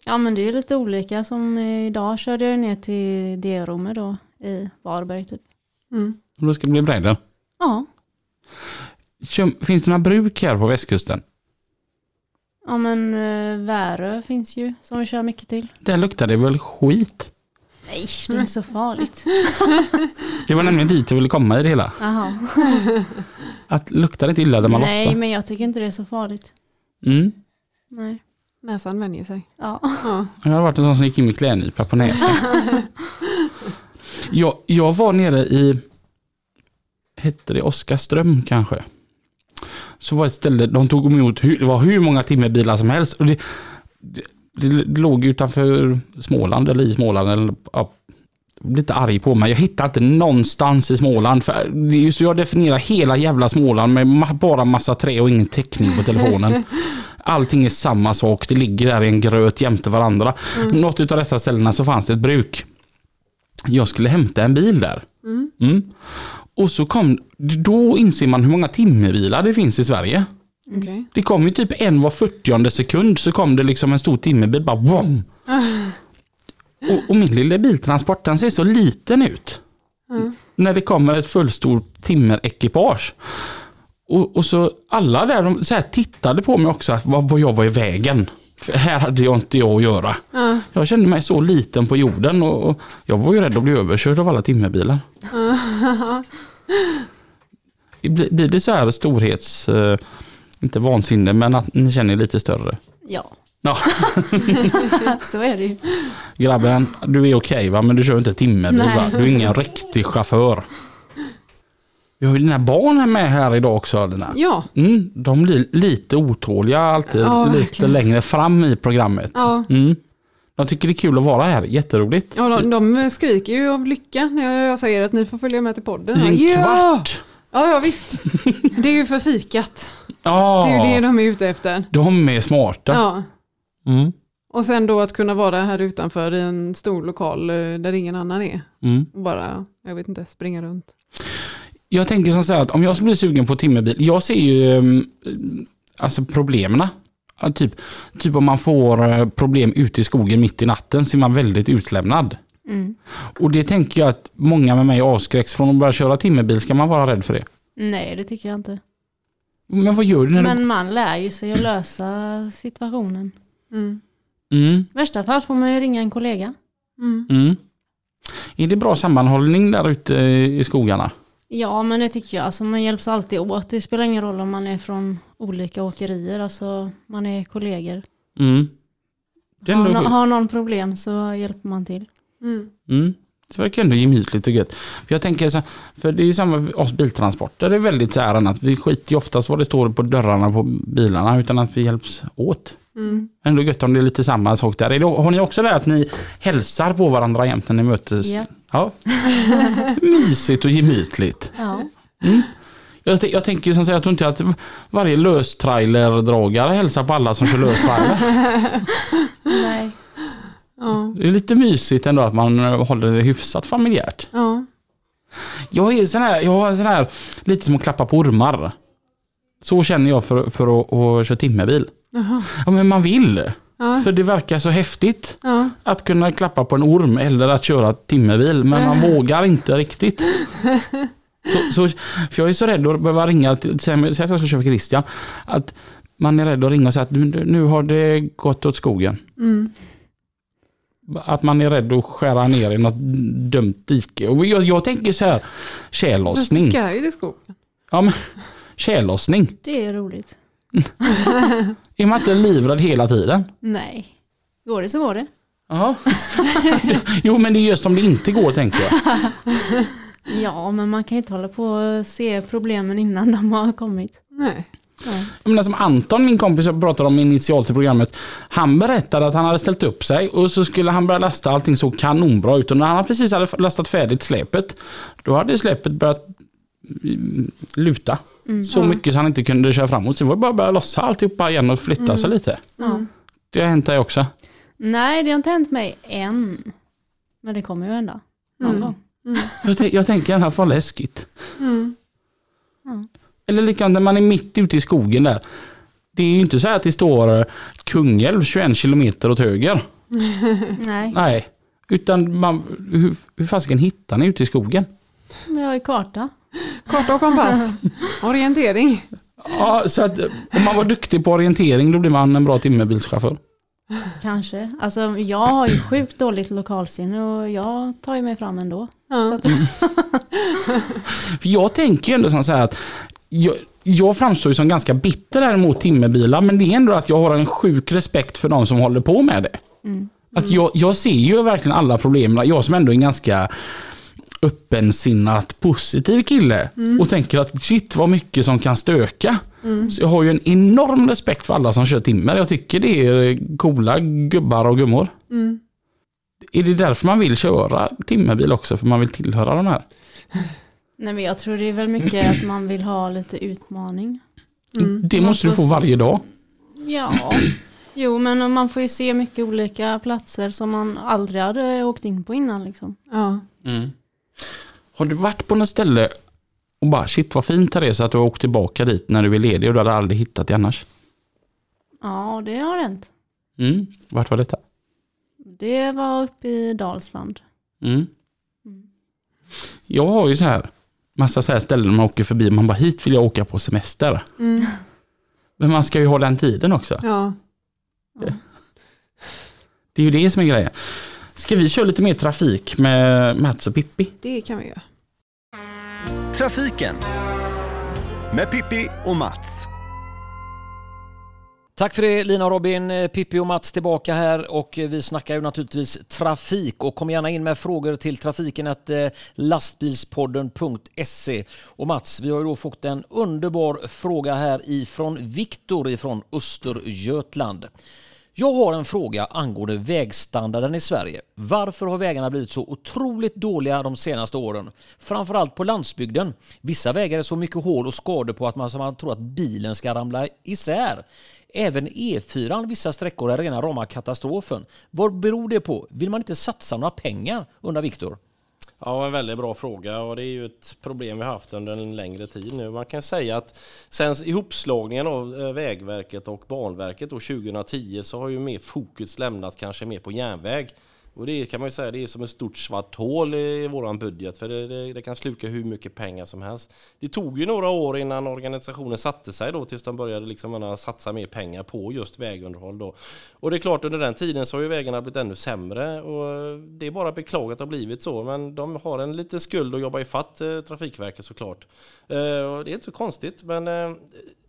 [SPEAKER 6] Ja, men det är ju lite olika. Som eh, idag körde jag ju ner till Derome då i Varberg typ.
[SPEAKER 2] Mm.
[SPEAKER 1] Om det ska bli brädor.
[SPEAKER 6] Ja,
[SPEAKER 1] Kör- Finns det några bruk här på västkusten?
[SPEAKER 6] ja men eh, Värö finns ju som vi kör mycket till.
[SPEAKER 1] Där luktar det väl skit?
[SPEAKER 6] Nej, det är inte så farligt.
[SPEAKER 1] Det var nämligen dit jag ville komma i det hela.
[SPEAKER 6] Jaha.
[SPEAKER 1] Att luktar inte illa där man
[SPEAKER 6] Nej,
[SPEAKER 1] lossar.
[SPEAKER 6] men jag tycker inte det är så farligt.
[SPEAKER 1] Mm.
[SPEAKER 6] Nej.
[SPEAKER 2] Näsan vänjer sig.
[SPEAKER 6] Ja.
[SPEAKER 2] Ja.
[SPEAKER 1] Jag har varit en sån som gick in med klädnypa på näsan. jag, jag var nere i, hette det Oskarström kanske? Så var ett ställe, de tog emot, hur, det var hur många timmerbilar som helst. Och det, det, det låg utanför Småland eller i Småland. Eller, ja, jag blir lite arg på mig. Jag hittar inte någonstans i Småland. För det är ju så jag definierar hela jävla Småland med ma- bara massa trä och ingen täckning på telefonen. Allting är samma sak. Det ligger där i en gröt jämte varandra. Något utav dessa ställena så fanns det ett bruk. Jag skulle hämta en bil där. Mm. Och så kom, då inser man hur många timmerbilar det finns i Sverige.
[SPEAKER 2] Okej.
[SPEAKER 1] Det kom ju typ en var 40 sekund så kom det liksom en stor timmerbil bara wom. Och, och min lilla biltransport den ser så liten ut. När det kommer ett fullstort timmerekipage. Och, och så alla där de så här tittade på mig också, att vad, vad jag var i vägen. För här hade jag inte jag att göra. Jag kände mig så liten på jorden och, och jag var ju rädd att bli överkörd av alla timmerbilar. Blir blir det så här storhets... Eh, inte vansinne, men att ni känner er lite större.
[SPEAKER 6] ja,
[SPEAKER 1] Ja,
[SPEAKER 6] så är det ju.
[SPEAKER 1] grabben, du är okej va, men du kör inte timmerbil
[SPEAKER 6] Nej.
[SPEAKER 1] va? Du är ingen riktig chaufför. Vi har ju dina barn med här idag också, Lina.
[SPEAKER 2] Ja.
[SPEAKER 1] Mm, de blir lite otåliga alltid,
[SPEAKER 2] Ja,
[SPEAKER 1] lite
[SPEAKER 2] verkligen.
[SPEAKER 1] längre fram i programmet.
[SPEAKER 2] Ja.
[SPEAKER 1] Mm. De tycker det är kul att vara här, jätteroligt.
[SPEAKER 2] Ja, de, de skriker ju av lycka när jag säger att ni får följa med till podden.
[SPEAKER 1] I en
[SPEAKER 2] ja.
[SPEAKER 1] kvart!
[SPEAKER 2] Ja, ja, visst. Det är ju för fikat. Det
[SPEAKER 1] Ja,
[SPEAKER 2] är ju det de är ute efter.
[SPEAKER 1] de är smarta.
[SPEAKER 2] Ja.
[SPEAKER 1] Mm.
[SPEAKER 2] Och sen då att kunna vara här utanför i en stor lokal eh, där ingen annan är.
[SPEAKER 1] Mm.
[SPEAKER 2] Och bara, jag vet inte, springa runt.
[SPEAKER 1] Jag tänker som så här att om jag skulle bli sugen på timmerbil, jag ser ju ehm, alltså problemen. Ja, Typ, typ om man får eh, problem ute i skogen mitt i natten så är man väldigt utlämnad.
[SPEAKER 6] Mm.
[SPEAKER 1] Och det tänker jag att många med mig avskräcks från att börja köra timmerbil. Ska man vara rädd för det?
[SPEAKER 6] Nej, det tycker jag inte.
[SPEAKER 1] Men vad gör du när
[SPEAKER 6] Men man lär ju sig att lösa situationen.
[SPEAKER 2] Mm.
[SPEAKER 1] du... Mm,
[SPEAKER 6] I värsta fall får man ju ringa en kollega.
[SPEAKER 2] Mm.
[SPEAKER 1] mm. Är det bra sammanhållning där ute i skogarna?
[SPEAKER 6] Ja, men det tycker jag. Alltså, man hjälps alltid åt. Det spelar ingen roll om man är från olika åkerier. Alltså, man är kollegor.
[SPEAKER 1] Mm. Det är
[SPEAKER 6] Har,
[SPEAKER 1] ändå
[SPEAKER 6] no-
[SPEAKER 1] skönt.
[SPEAKER 6] har någon problem så hjälper man till.
[SPEAKER 2] Mm.
[SPEAKER 1] Mm. Det verkar ändå gemytligt och gött. För jag tänker så, för det är ju samma för oss biltransporter, det är väldigt så här att vi skiter ju oftast vad det står på dörrarna på bilarna utan att vi hjälps åt.
[SPEAKER 2] Mm.
[SPEAKER 1] Ändå gött om det är lite samma sak där. Är det, har ni också det att ni hälsar på varandra jämt när ni mötes?
[SPEAKER 6] Ja.
[SPEAKER 1] ja. Mysigt och gemytligt.
[SPEAKER 6] Ja,
[SPEAKER 1] Jag, t- jag tänker ju som sagt, jag tror inte att varje löstrailerdragare hälsar på alla som kör löstrailer.
[SPEAKER 6] nej.
[SPEAKER 2] Ja.
[SPEAKER 1] det är lite mysigt ändå att man eh, håller det hyfsat familjärt.
[SPEAKER 2] Ja.
[SPEAKER 1] Jag är sån här, jag har sån här, lite som att klappa på ormar. Så känner jag för, för att, att köra timmerbil.
[SPEAKER 2] Jaha.
[SPEAKER 1] Ja men man vill.
[SPEAKER 2] Ja.
[SPEAKER 1] För det verkar så häftigt
[SPEAKER 2] Ja.
[SPEAKER 1] att kunna klappa på en orm eller att köra timmerbil. Men man vågar inte riktigt. Så, så, för jag är så rädd att behöva ringa, till- säg säg att jag ska köra för Christian. Att man är rädd att ringa och säga att nu, nu har det gått åt skogen.
[SPEAKER 2] Mm.
[SPEAKER 1] Att man är rädd att skära ner i något dumt dike. Och jag, jag tänker så här,
[SPEAKER 2] Fast
[SPEAKER 1] tjällossning.
[SPEAKER 2] du ska ju till skogen.
[SPEAKER 1] Ja, men, tjällossning.
[SPEAKER 6] Det är roligt.
[SPEAKER 1] Är man inte livrädd hela tiden?
[SPEAKER 6] Nej. Går det så går det.
[SPEAKER 1] Ja. jo, men det är just om det inte går tänker jag.
[SPEAKER 6] Ja, men man kan ju inte hålla på och se problemen innan de har kommit.
[SPEAKER 2] Nej.
[SPEAKER 1] jag menar, som Anton, min kompis, jag pratade om initialt i programmet. Han berättade att han hade ställt upp sig och så skulle han börja lasta. Allting såg kanonbra ut och när han precis hade lastat färdigt släpet, då hade släpet börjat mm, luta. Så mycket så han inte kunde köra framåt. Så det var bara att börja lossa alltihopa igen och flytta sig lite.
[SPEAKER 6] Ja.
[SPEAKER 1] Det har hänt dig också.
[SPEAKER 6] Mm. Nej, det har inte hänt mig än. Men det kommer ju hända. Någon gång.
[SPEAKER 1] Jag, tän- jag tänker gärna att vad läskigt.
[SPEAKER 2] Mm.
[SPEAKER 1] Eller likadant när man är mitt ute i skogen där. Det är ju inte så här att det står eh, Kungälv 21 kilometer åt höger.
[SPEAKER 6] Nej,
[SPEAKER 1] Nej. Utan man, hur, hur fasiken hittar ni ute i skogen?
[SPEAKER 6] men jag har ju karta.
[SPEAKER 2] Karta och kompass. Orientering.
[SPEAKER 1] Ja, så att eh, om man var duktig på orientering då blir man en bra timmerbilschaufför.
[SPEAKER 6] Kanske. Alltså jag har ju sjukt dåligt lokalsinne och jag tar ju mig fram ändå. Så
[SPEAKER 2] Ja.
[SPEAKER 6] att,
[SPEAKER 1] För jag tänker ju ändå som så här att jag, jag framstår ju som ganska bitter här mot timmerbilar, men det är ändå att jag har en sjuk respekt för de som håller på med det.
[SPEAKER 6] Mm.
[SPEAKER 1] Att jag, jag ser ju verkligen alla problemen. Jag som ändå är en ganska öppensinnat positiv kille
[SPEAKER 6] Mm.
[SPEAKER 1] och tänker att shit vad mycket som kan stöka. Så jag har ju en enorm respekt för alla som kör timmer. Jag tycker det är coola gubbar och gummor.
[SPEAKER 2] Mm.
[SPEAKER 1] Är det därför man vill köra timmerbil också? För man vill tillhöra de här?
[SPEAKER 6] nej men jag tror det är väl mycket att man vill ha lite utmaning.
[SPEAKER 2] Mm.
[SPEAKER 1] Det
[SPEAKER 6] Man
[SPEAKER 1] måste du
[SPEAKER 6] får
[SPEAKER 1] få
[SPEAKER 6] se.
[SPEAKER 1] varje dag.
[SPEAKER 6] Ja, jo men man får ju se mycket olika platser som man aldrig hade åkt in på innan liksom.
[SPEAKER 2] Ja.
[SPEAKER 1] Mm. Har du varit på något ställe och bara shit vad fint här är så att du har åkt tillbaka dit när du är ledig och du hade aldrig hittat det annars?
[SPEAKER 6] Ja, det har hänt.
[SPEAKER 1] Mm. Vart var detta?
[SPEAKER 6] Det var uppe i Dalsland.
[SPEAKER 1] Mm. Jag har ju så här massa så här ställen man åker förbi man bara hit vill jag åka på semester.
[SPEAKER 2] Mm.
[SPEAKER 1] Men man ska ju ha den tiden också.
[SPEAKER 2] ja.
[SPEAKER 1] Det är ju det som är grejen. Ska vi köra lite mer trafik med Mats och Pippi?
[SPEAKER 2] Det kan vi göra.
[SPEAKER 3] Trafiken med Pippi och Mats.
[SPEAKER 4] Tack för det Lina och Robin, Eh, Pippi och Mats tillbaka här och eh, vi snackar ju naturligtvis trafik och kom gärna in med frågor till trafiken att eh, lastbilspodden.se. E. Och Mats, vi har ju då fått en underbar fråga här ifrån Viktor ifrån Östergötland. Jag har en fråga angående vägstandarden i Sverige. Varför har vägarna blivit så otroligt dåliga de senaste åren? Framförallt på landsbygden. Vissa vägar är så mycket hål och skador på att man, som man tror att bilen ska ramla isär. Även E4 vissa sträckor är rena rama katastrofen. Vad beror det på? Vill man inte satsa några pengar? undrar Viktor.
[SPEAKER 5] Ja, en väldigt bra fråga och det är ju ett problem vi har haft under en längre tid nu. Man kan säga att sen ihopslagningen av eh, Vägverket och Banverket då 2010 så har ju mer fokus lämnats kanske mer på järnväg. Och det kan man ju säga, det är som ett stort svart hål i våran budget för det, det, det kan sluka hur mycket pengar som helst. Det tog ju några år innan organisationen satte sig då tills de började liksom menar, satsa mer pengar på just vägunderhåll då. Och det är klart under den tiden så har ju vägarna blivit ännu sämre och det är bara beklagligt att det har blivit så men de har en liten skuld att jobba ifatt eh, Trafikverket såklart. Eh, och det är inte så konstigt men eh,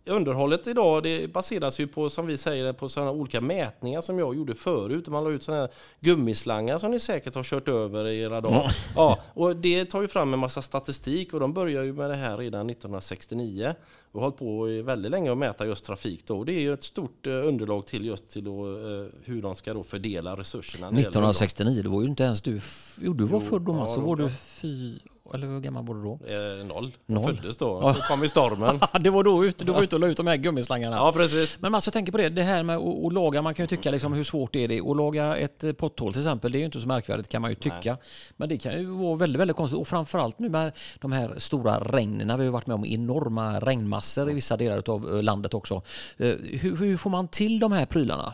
[SPEAKER 5] underhållet idag det baseras ju på som vi säger på sådana olika mätningar som jag gjorde förut. Man la ut sådana här gummislangar som ni säkert har kört över i era dagar. Ja, och det tar ju fram en massa statistik och de börjar ju med det här redan 1969 och har hållit på i väldigt länge att mäta just trafik då. Och det är ju ett stort eh, underlag till just till då, eh, hur de ska då fördela resurserna. när det gäller underhåll.
[SPEAKER 4] 1969, det var ju inte ens du... f- Jo, du var född då,
[SPEAKER 5] ja,
[SPEAKER 4] Mats. Då
[SPEAKER 5] då
[SPEAKER 4] var
[SPEAKER 5] var
[SPEAKER 4] du
[SPEAKER 5] jag.
[SPEAKER 4] fy... Eller hur gammal var du då?
[SPEAKER 5] Eh, noll.
[SPEAKER 4] Noll.
[SPEAKER 5] noll. Föddes då. Då kom ju stormen.
[SPEAKER 4] det var då ute, du var ute och la ut de här gummislangarna.
[SPEAKER 5] Ja, precis.
[SPEAKER 4] Men Mats, jag tänker på det, det här med att att laga, man kan ju tycka liksom hur svårt är det att laga ett eh, potthål till exempel, det är ju inte så märkvärdigt kan man ju tycka. Men det kan ju vara väldigt, väldigt konstigt och framförallt nu med de här stora regnen, vi har ju varit med om enorma regnmassor i vissa delar av landet också. Eh, Hur, hur får man till de här prylarna?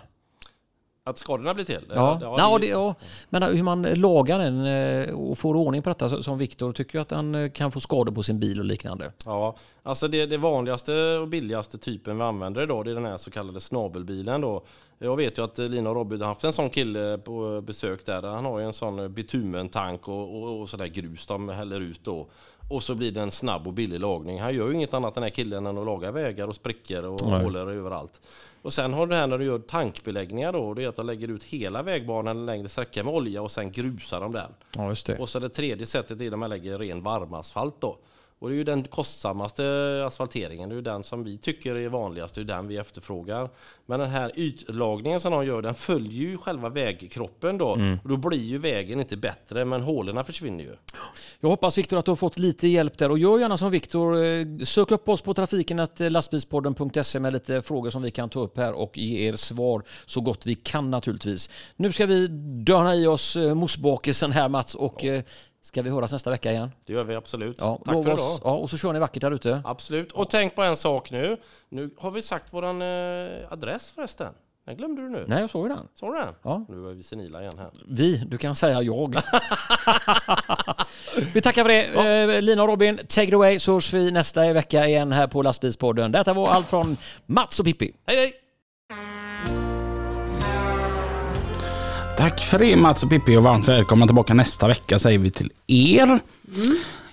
[SPEAKER 5] Att skadorna blir till?
[SPEAKER 4] Ja,
[SPEAKER 5] det-
[SPEAKER 4] ja, det, ja. men eh, hur man lagar den eh, och får ordning på detta så- som Viktor tycker ju att han eh, kan få skador på sin bil och liknande.
[SPEAKER 5] Ja, alltså det, det vanligaste och billigaste typen vi använder idag det är den här så kallade snabelbilen då. Jag vet ju att Lina och Robin har haft en sån kille på besök där. Han har ju en sån bitumentank och, och, och sådär grus de häller ut då. Och så blir det en snabb och billig lagning. Han gör ju inget annat den här killen än att laga vägar och sprickor och hålor överallt. Och sen har du det här när du gör tankbeläggningar då. Det är att de lägger ut hela vägbanan en längre sträcka med olja och sen grusar de den.
[SPEAKER 4] Ja, just det.
[SPEAKER 5] Och så det tredje sättet är när man lägger ren varmasfalt då. Och det är ju den kostsammaste asfalteringen, det är ju den som vi tycker är vanligast, det är den vi efterfrågar. Men den här ytlagningen som de gör, den följer ju själva vägkroppen då.
[SPEAKER 4] Mm.
[SPEAKER 5] Och då blir ju vägen inte bättre, men hålen försvinner ju.
[SPEAKER 4] Jag hoppas Viktor att du har fått lite hjälp där och gör gärna som Viktor. eh, Sök upp oss på trafiken att eh, lastbilspodden.se med lite frågor som vi kan ta upp här och ge er svar så gott vi kan naturligtvis. Nu ska vi döna i oss eh, mosbakelsen här Mats och eh, ska vi höras nästa vecka igen?
[SPEAKER 5] Det gör vi absolut.
[SPEAKER 4] Ja,
[SPEAKER 5] Tack för
[SPEAKER 4] lova oss-
[SPEAKER 5] idag.
[SPEAKER 4] Ja, och så kör ni vackert där ute.
[SPEAKER 5] Absolut. Och tänk på en sak nu. Nu har vi sagt våran eh, adress förresten. Den glömde du nu.
[SPEAKER 4] Nej, jag såg ju den.
[SPEAKER 5] Såg du den?
[SPEAKER 4] Ja.
[SPEAKER 5] Nu är vi senila igen här.
[SPEAKER 4] Vi, du kan säga jag. vi tackar för det. Eh, Lina och Robin, take it away så hörs vi nästa vecka igen här på lastbilspodden. Detta var allt från Mats och Pippi.
[SPEAKER 5] Hej hej!
[SPEAKER 1] Tack för det Mats och Pippi och varmt välkomna tillbaka nästa vecka säger vi till er.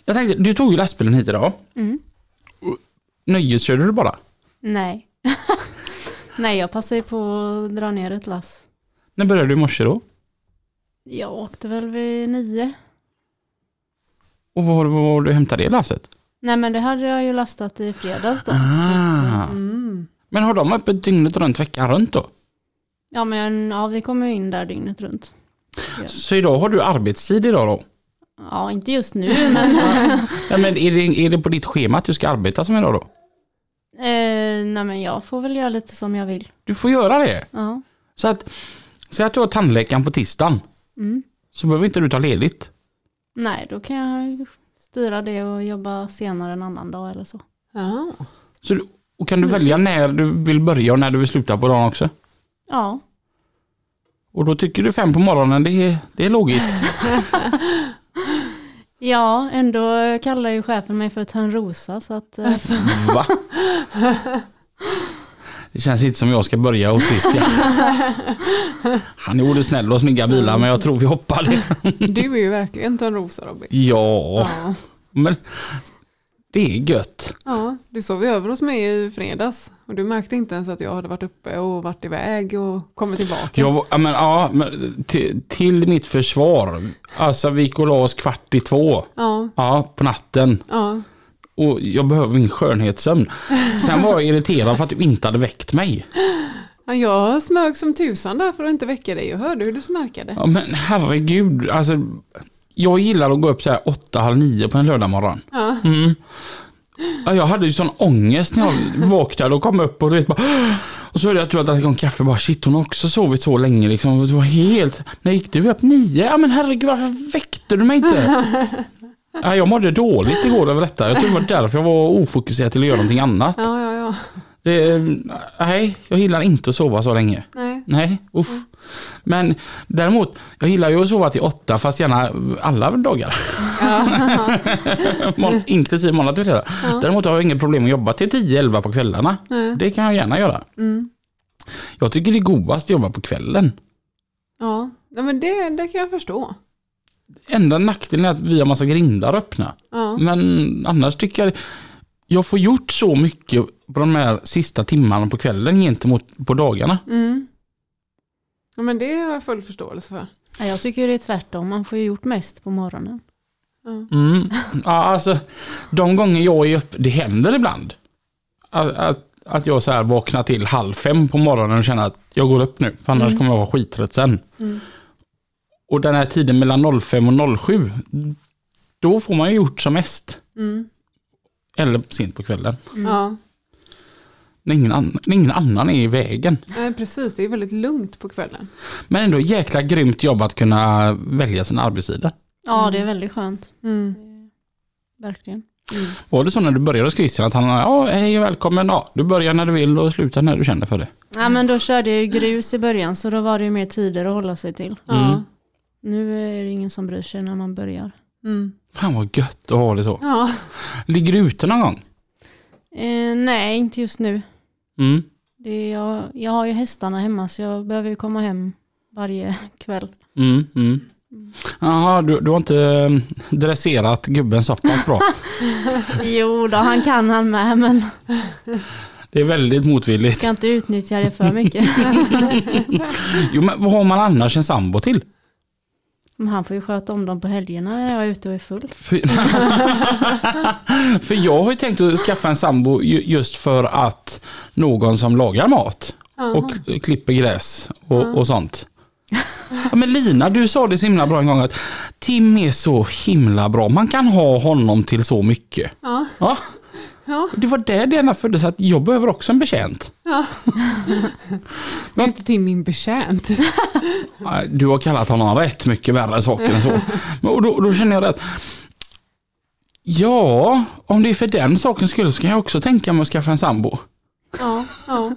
[SPEAKER 1] Jag tänkte, du tog ju lastbilen hit idag.
[SPEAKER 6] Mm.
[SPEAKER 1] Och Nöjeskörde du bara?
[SPEAKER 6] Nej. Nej, jag passar ju på att dra ner ett lass.
[SPEAKER 1] När började du i morse då?
[SPEAKER 6] Jag åkte väl vid nio.
[SPEAKER 1] Och var var var du hämtade det lasset?
[SPEAKER 6] Nej, men det hade jag ju lastat i fredags då. Så att,
[SPEAKER 1] Ah.
[SPEAKER 6] eh,
[SPEAKER 2] Mm.
[SPEAKER 1] Men har de öppet dygnet runt veckan runt då?
[SPEAKER 6] ja, men ja, vi kommer ju in där dygnet runt.
[SPEAKER 1] Så idag har du arbetstid idag då?
[SPEAKER 6] Ja, inte just nu, men
[SPEAKER 1] Nej, men är, det, är det på ditt schema att du ska arbeta som idag då?
[SPEAKER 6] Eh, nej men jag får väl göra lite som jag vill.
[SPEAKER 1] Du får göra det.
[SPEAKER 6] Ja.
[SPEAKER 1] Så att, säg att du har tandläkaren på tisdagen.
[SPEAKER 6] Mm.
[SPEAKER 1] Så behöver inte du ta ledigt.
[SPEAKER 6] Nej, då kan jag ju styra det och jobba senare en annan dag eller så.
[SPEAKER 2] Ja.
[SPEAKER 1] Så, du- och kan du välja när du vill börja och när du vill sluta på dagen också?
[SPEAKER 6] Ja,
[SPEAKER 1] Och då tycker du fem på morgonen, det är, det är logiskt.
[SPEAKER 6] ja ändå kallar ju chefen mig för Törnrosa så att eh,
[SPEAKER 1] Va? Det känns inte som jag ska börja hos Christian. Han gjorde snälla och snygga bilar men jag tror vi hoppar det.
[SPEAKER 2] Du är ju verkligen Törnrosa Robin.
[SPEAKER 1] Ja,
[SPEAKER 2] Ja.
[SPEAKER 1] men det är gött.
[SPEAKER 2] ja, du sov ju över hos mig i fredags och du märkte inte ens att jag hade varit uppe och varit iväg och kommit tillbaka.
[SPEAKER 1] Jag, var- ja, men, ja, men, till, till mitt försvar. Alltså vi gick och la oss kvart i två.
[SPEAKER 2] Ja,
[SPEAKER 1] Ja, på natten.
[SPEAKER 2] ja.
[SPEAKER 1] Och jag behöver min skönhetssömn. Sen var jag irriterad för att du inte hade väckt mig.
[SPEAKER 2] Ja, Jag smög som tusan där för att inte väcka dig och hörde hur du snarkade.
[SPEAKER 1] Ja, men herregud. Alltså, jag gillar att gå upp så här åtta, halv nio på en lördagmorgon.
[SPEAKER 2] Ja.
[SPEAKER 1] Mm. Ja, jag hade ju sån ångest när jag vaknade och kom upp och du vet bara och så hörde jag att du hade dragit igång kaffe bara shit hon har också sovit så länge liksom. Det var helt, när gick du upp? Nio? Ja men herregud varför väckte du mig inte? Ja, jag mådde dåligt igår över detta. Jag tror det var därför jag var ofokuserad till att göra någonting annat.
[SPEAKER 2] Ja, ja, ja.
[SPEAKER 1] Det, nej, jag gillar inte att sova så länge.
[SPEAKER 2] Nej.
[SPEAKER 1] Nej, uff. Men däremot, jag gillar ju att sova till åtta, fast gärna alla dagar. Mån- Inklusive måndag till fredag. Däremot har jag inget problem att jobba till 10-11 på kvällarna. Det kan jag gärna göra.
[SPEAKER 2] Mm.
[SPEAKER 1] Jag tycker det är godast att jobba på kvällen.
[SPEAKER 2] Ja, Nej, men det, det kan jag förstå.
[SPEAKER 1] Enda nackdelen är att vi har massa grindar öppna.
[SPEAKER 2] Ja,
[SPEAKER 1] Men annars tycker jag jag får gjort så mycket på de här sista timmarna på kvällen gentemot på dagarna.
[SPEAKER 2] mm. ja men det har jag full förståelse för.
[SPEAKER 6] ja, jag tycker ju det är tvärtom. Man får ju gjort mest på morgonen.
[SPEAKER 2] Ja.
[SPEAKER 1] Mm. Ja, alltså, de gånger jag är uppe, det händer ibland. Att, att, att jag så här vaknar till halv fem på morgonen och känner att jag går upp nu, för annars kommer jag vara skittrött sen.
[SPEAKER 2] Mm.
[SPEAKER 1] Och den här tiden mellan 05 och 07, då får man ju gjort som mest.
[SPEAKER 2] Mm.
[SPEAKER 1] Eller sent på kvällen.
[SPEAKER 2] Ja,
[SPEAKER 1] När ingen, annan, när ingen annan är i vägen.
[SPEAKER 2] Nej, precis. Det är väldigt lugnt på kvällen.
[SPEAKER 1] Men ändå jäkla grymt jobb att kunna välja sin arbetssida.
[SPEAKER 6] Ja, det är väldigt skönt.
[SPEAKER 2] Mm.
[SPEAKER 6] Verkligen.
[SPEAKER 1] Var det så när du började hos Christian att han, ja hej och välkommen, ja, du börjar när du vill och slutar när du känner för det.
[SPEAKER 6] Ja, men då körde jag ju grus i början så då var det ju mer tider att hålla sig till.
[SPEAKER 2] Ja.
[SPEAKER 6] Nu är det ingen som bryr sig när man börjar.
[SPEAKER 2] Mm.
[SPEAKER 1] Fan vad gött att ha det så.
[SPEAKER 2] Ja.
[SPEAKER 1] Ligger du ute någon gång?
[SPEAKER 6] Eh, nej, inte just nu.
[SPEAKER 1] Mm.
[SPEAKER 6] Det är jag, jag har ju hästarna hemma så jag behöver ju komma hem varje kväll.
[SPEAKER 1] Mm, mm. Jaha, du, du har inte eh, dresserat gubben så pass bra.
[SPEAKER 6] Jo då, han kan han med men
[SPEAKER 1] Det är väldigt motvilligt.
[SPEAKER 6] ska inte utnyttja det för mycket.
[SPEAKER 1] Jo, men vad har man annars en sambo till?
[SPEAKER 6] Men han får ju sköta om dem på helgerna när jag är ute och är full.
[SPEAKER 1] För, för jag har ju tänkt att skaffa en sambo ju- just för att någon som lagar mat och k- klipper gräs och, och sånt. Ja, men Lina, du sa det så himla bra en gång att Tim är så himla bra. Man kan ha honom till så mycket.
[SPEAKER 2] Ja.
[SPEAKER 1] Ja.
[SPEAKER 2] Ja.
[SPEAKER 1] Det var där det ena föddes, att jag behöver också en betjänt.
[SPEAKER 2] Det är inte till min betjänt.
[SPEAKER 1] Nej, Du har kallat honom rätt mycket värre saker än så. Men och då, då känner jag det att Ja, om det är för den sakens skull så kan jag också tänka mig att skaffa en sambo.
[SPEAKER 2] Ja, ja,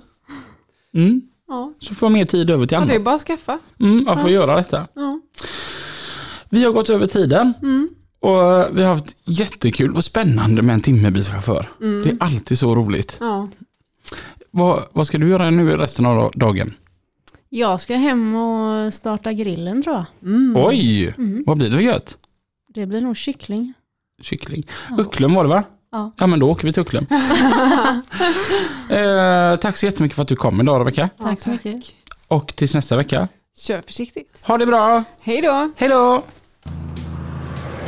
[SPEAKER 1] Mm.
[SPEAKER 2] ja.
[SPEAKER 1] Så får jag mer tid över till
[SPEAKER 2] ja det är
[SPEAKER 1] annat.
[SPEAKER 2] bara att skaffa.
[SPEAKER 1] Mm, jag får göra detta.
[SPEAKER 2] Ja. Mm.
[SPEAKER 1] Vi har gått över tiden och vi har haft jättekul och spännande med en timmebilschaufför.
[SPEAKER 2] Mm.
[SPEAKER 1] Det är alltid så roligt.
[SPEAKER 2] Ja.
[SPEAKER 1] Vad, vad ska du göra nu i resten av dagen?
[SPEAKER 6] Jag ska hem och starta grillen tror jag.
[SPEAKER 2] Mm.
[SPEAKER 1] Oj,
[SPEAKER 6] Mm.
[SPEAKER 1] vad blir det för gött?
[SPEAKER 6] Det blir nog kyckling.
[SPEAKER 1] Kyckling.
[SPEAKER 6] Ja.
[SPEAKER 1] Ucklum var det va?
[SPEAKER 6] Ja.
[SPEAKER 1] Ja men då åker vi till Ucklum. eh, tack så jättemycket för att du kom idag Rebecka.
[SPEAKER 2] Ja,
[SPEAKER 6] Tack så mycket.
[SPEAKER 1] Och tills nästa vecka.
[SPEAKER 2] Kör försiktigt.
[SPEAKER 1] Ha det bra,
[SPEAKER 2] Hej då!
[SPEAKER 1] hej då!